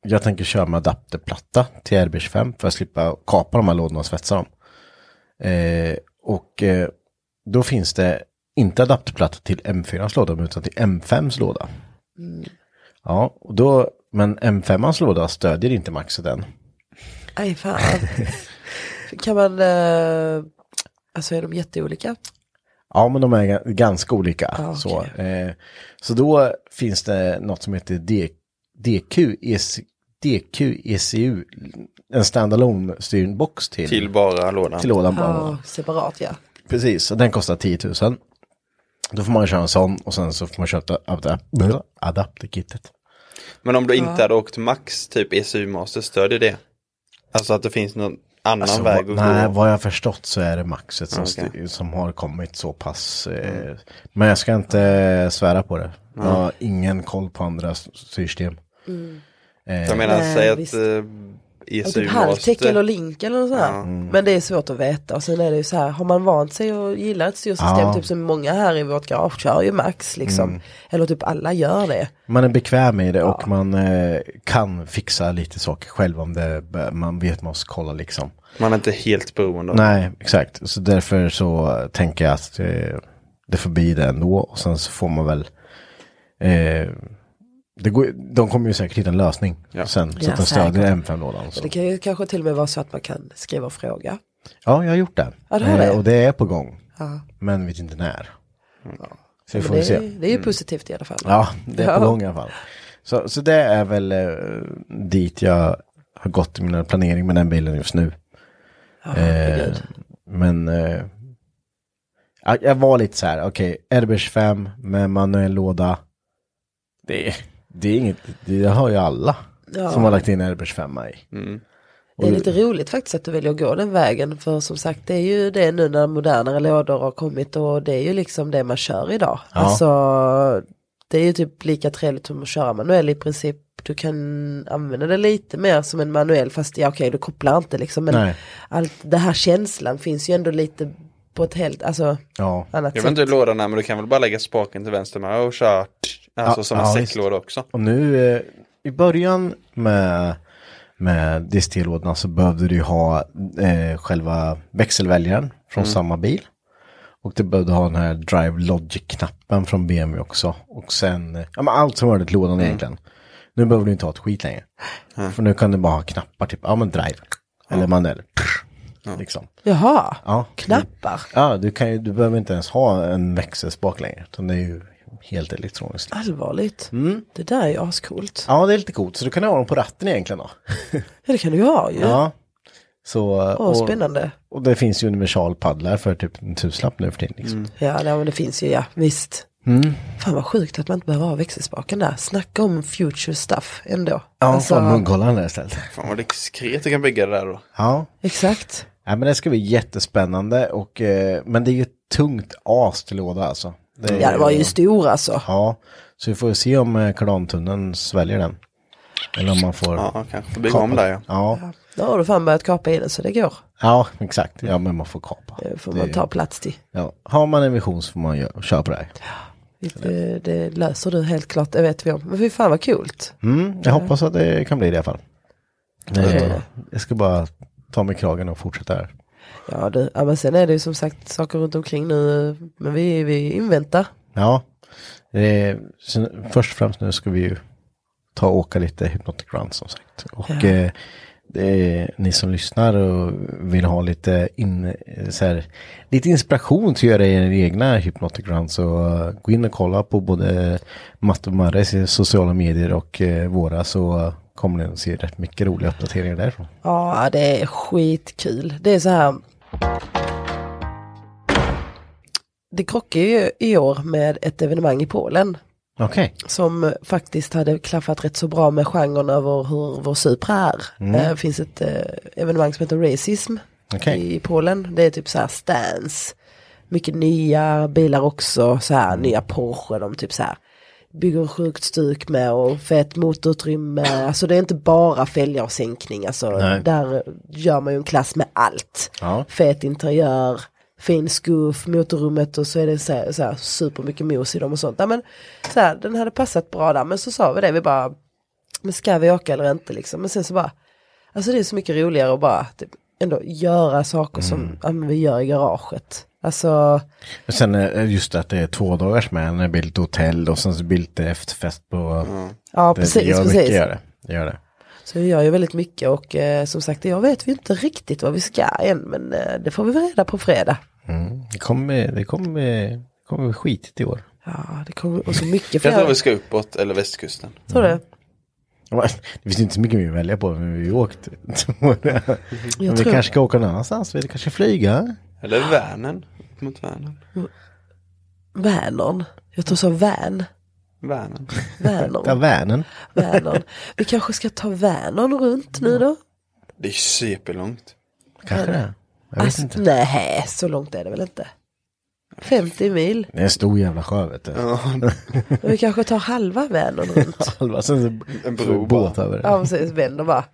jag tänker köra med adapterplatta till RB25 för att slippa kapa de här lådorna och svetsa dem. Eh, och eh, då finns det inte adapterplatta till M4-ans låda utan till M5s låda. Ja, och då, men M5-ans låda stödjer inte maxet än. Aj fan. [laughs] kan man, eh, alltså är de jätteolika? Ja, men de är ga- ganska olika. Ja, okej. så, eh, så då finns det något som heter D, E DQ, EC, DQ ECU, E en standalone styrbox till, Till bara lådan. till lådan. Ja, bara. separat ja. Precis, så den kostar 10 000. Då får man köra en sån och sen så får man köpa adap- adapterkittet. Men om du inte hade åkt max, typ ECU Master, stödjer det? Alltså att det finns någon annan Alltså, väg vad- att nej, gå? Ah, vad jag har förstått så är det maxet som, Okej. Mm. styr- som har kommit så pass. Eh, Men jag ska inte svära på det. Jag har ingen koll på andra s- styrsystem. Mm. Jag menar, Nej, säg att visst. eh, Ja, Typ ECU halvtäck eller Master. link eller något sånt här. Mm. Men det är svårt att veta. Och sen är det ju så här, har man vant sig och gillar ett styrsystem, Ja. Mm. typ som många här i vårt garage kör ju max liksom. Eller typ alla gör det. Man är bekväm i det och man eh, kan fixa lite saker själv om det, man vet man ska kolla liksom. Man är inte helt beroende av Nej, exakt. Så därför så tänker jag att eh, det får bli det ändå och sen så får man väl eh, det går, de kommer ju säkert hitta en lösning Ja. sen så Ja, att de stödjer M5-lådan. Det så. kan ju kanske till och med vara så att man kan skriva och fråga. Ja, jag har gjort det. Eh, Ja, du har det? och det är på gång. Ja. Mm. Men vet inte när. Så vi Men får vi det, är, se. Mm. det är ju positivt i alla fall. Ja, det är på Ja. gång i alla fall. Så, så det är väl eh, dit jag har gått i min planering med den bilen just nu. eh, men eh, ja, jag var lite så här, okej, RB25 med manuell låda. Det, är- det är inget, det har ju alla Ja. som har lagt in RB25 i. Det är lite roligt faktiskt att du väljer att gå den vägen. För som sagt det är ju det nu när modernare lådor har kommit och det är ju liksom det man kör idag. Alltså det är ju typ lika trevligt som att köra manuell i princip. Du kan använda det lite mer som en manuell fast ja okej du kopplar inte liksom. Men Nej. allt det här känslan finns ju ändå lite på ett helt alltså, Ja, annat Jag sätt. vet inte hur lådan är, men du kan väl bara lägga spaken till vänster med och köra. Alltså Ja, som en ja, visst. säcklåda också. Och nu eh, i början med, med distillådorna så behövde du ju ha eh, själva växelväljaren från samma bil. Och du behövde ha den här Drive Logic-knappen från BMW också. Och sen, eh, ja men allt som hörde till lådan egentligen. Nu behöver du inte ha ett skit längre. För nu kan du bara ha knappar, typ, ja men Drive. Eller manuell. Liksom. Jaha, Ja, knappar. Du, ja, du, kan ju, du behöver inte ens ha en växelspak längre. Utan det är ju helt elektroniskt. Allvarligt. Mm. Det där är ju ascoolt. Ja, det är lite coolt. Så du kan ha dem på ratten egentligen då. Ja det kan du ju ha ju. Ja. Så, Åh spännande. Mm. och det finns ju universal paddlar för typ en tusenlapp nu för tiden. Liksom. Ja, nej, men det finns ju, ja, visst. Mm. Fan vad sjukt att man inte behöver ha växelspaken där. Snacka om future stuff ändå. Ja, Alltså, alltså... munghållaren där istället. Fan vad diskret du kan bygga det där då. Ja. Exakt. ja, men det ska bli jättespännande och eh, men det är ju ett tungt as till låda alltså. är Ja, det var ju stor alltså. Ja, så vi får se om eh, kardantunneln sväljer den. Eller om man får... Ja, kanske bygga om där ja. Ja, Nu har du fan börjat kapa i den så det går. ja exakt. Ja, men man får kapa. Det får man ta plats till. Ja. Har man en vision så får man gö- köra på det här. Det, det löser du helt klart, det vet vi om. Men fy fan vad kul. Mm, jag hoppas att det kan bli det i alla fall. Eh, Jag ska bara ta mig i kragen och fortsätta här. Ja, det, ja, men sen är det ju som sagt saker runt omkring nu. Men vi, vi inväntar. Ja, eh, så först och främst nu ska vi ju ta och åka lite Hypnotic Run som sagt. Och eh, det är, ni som lyssnar och vill ha lite, in, eh, så här, lite inspiration till att göra er egna Hypnotic Run så eh, gå in och kolla på både Matte och Marres sociala medier och eh, våra så kommer ni att se rätt mycket roliga uppdateringar därifrån. Ja, det är skitkul. Det är så här. Det krockar ju i år med ett evenemang i Polen Okej. som faktiskt hade klaffat rätt så bra med genren över hur vår supra är. Eh, Det finns ett eh, evenemang som heter Racism Okej. i Polen. Det är typ så här stance. Mycket nya bilar också, så här nya Porsche, de typ så här bygger sjukt stuk med och fett motorutrymme. Alltså det är inte bara fälgar och sänkning, alltså Nej. där gör man ju en klass med allt. Ja. Fet interiör, fin skuff, motorrummet och så är det så här, så här supermycket mos i dem och sånt. Ja, men, så här, den hade passat bra där, men så sa vi det, vi bara, men ska vi åka eller inte liksom? Men sen så bara, Alltså det är så mycket roligare att bara typ, ändå göra saker Mm. som ja, men vi gör i garaget. Alltså, Och Sen eh, just att det är två dagars med, en blir lite hotell och sen så blir det lite efterfest på... ja Det- det precis, gör precis. Mycket, gör det. det gör det. Så vi gör ju väldigt mycket och eh, som sagt, jag vet vi inte riktigt vad vi ska än, men eh, det får vi väl reda på fredag. Mm. Det kommer, det kommer, det kommer bli skitigt i år. Ja, det kommer, och så mycket Jag tror vi fredag. ska uppåt eller västkusten. Tror Mm. du? Det finns ju inte så mycket mer att välja på, men vi har ju [laughs] åkt. Men vi tror- kanske ska åka någon annanstans, vi kanske eh? flyga. Eller Vänern. Upp mot Vänern. Vänern. Jag tror så vän. Vänern. Ta Vänern. Vänern. Vänern. Vi kanske ska ta Vänern runt nu då? Det är superlångt. Kanske det. Jag vet Alltså, inte. nej, så långt är det väl inte? 50 mil. Det är en stor jävla sjö vet du. Vi kanske tar halva Vänern runt. Halva, sen så, En en bro bro bara. båt över det. Ja precis, vänder bara.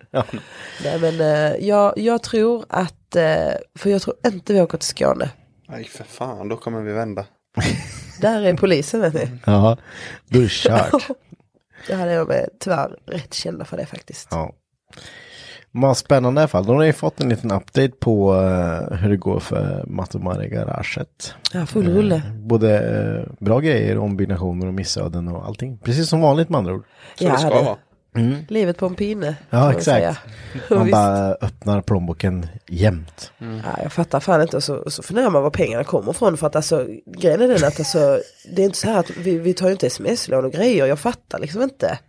Nej men eh, jag, jag tror att, eh, för jag tror inte vi åker till Skåne. Nej för fan, då kommer vi vända. Där är polisen vet ni. Ja, då är det kört. [laughs] Det här är de eh, tyvärr rätt kända för det faktiskt. Ja. Men spännande i alla fall. Då har ni fått en liten update på eh, hur det går för Matomare garaget. Ja, full rulle. Både eh, bra grejer, ombyggnationer och missöden och allting. Precis som vanligt med andra ord. Så det ska det- vara. Livet på en pinne. kan Ja, man exakt. Och [laughs] Man visst. bara öppnar plånboken jämt. Ja, jag fattar fan inte och så, och så funderar man var pengarna kommer ifrån för att alltså grejen är den att alltså det är inte så här att vi, vi tar ju inte sms-lån och grejer, jag fattar liksom inte.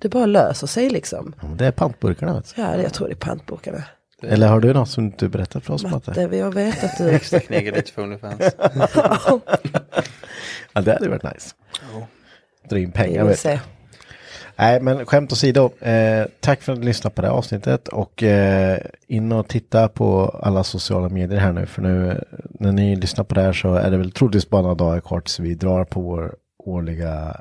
Det bara löser sig liksom. Ja, men Det är pantburkarna. Vet Ja, det, jag tror det är pantbokarna. du. Eller har du något som du berättat för oss Matte? Matte, vi har vetat att du Extra knegar lite för Onlyfans. Ja, det hade varit nice. Dra in pengar vill vet du. se. Nej, men skämt åsido. Eh, tack för att ni lyssnade på det här avsnittet och eh, in och titta på alla sociala medier här nu. För nu eh, när ni lyssnar på det här så är det väl troligtvis bara några dagar kvar tills vi drar på vår årliga,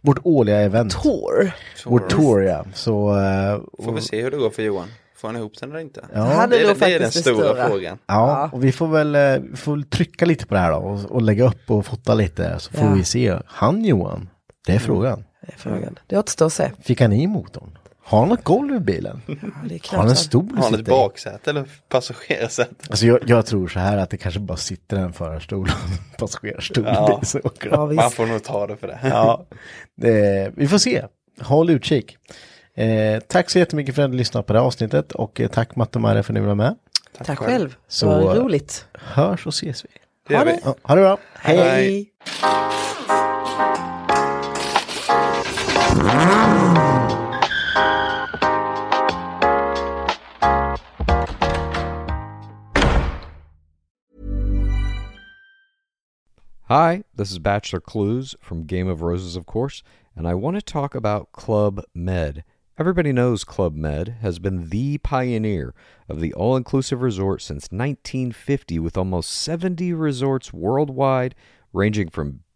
vårt årliga event. Tour. Vår tour ja. Så eh, Får vi se hur det går för Johan. Får han ihop den eller inte? Ja. Han är Det är, nog det är den faktiskt det stora stora. frågan. Ja, och vi får väl eh, vi får väl trycka lite på det här då och, och lägga upp och fota lite så får Ja. vi se. Han Johan, det Mm. är frågan. Det är frågan. Det återstår att se. Fick han i motorn? Har han något golv i bilen? Ja, det är Har han en stol Har han sitter ett i? baksäte eller passagerarsäte? Alltså jag, jag tror så här att det kanske bara sitter en förarstol och en passagerarstol. Ja. i, så åker Ja, de. visst. Man får nog ta det för det. ja. Det, vi får se. Håll utkik. Eh, tack så jättemycket för att ni lyssnade på det här avsnittet och eh, tack Matte och Maria för att ni var med. Tack själv. Så- Det var roligt. Hörs och ses vi. [laughs] Det gör vi. Ja, ha det bra. Hej. Hi, this is Bachelor Clues from Game of Roses, of course, and I want to talk about Club Med. Everybody knows Club Med has been the pioneer of the all inclusive resort since 1950, with almost 70 resorts worldwide, ranging from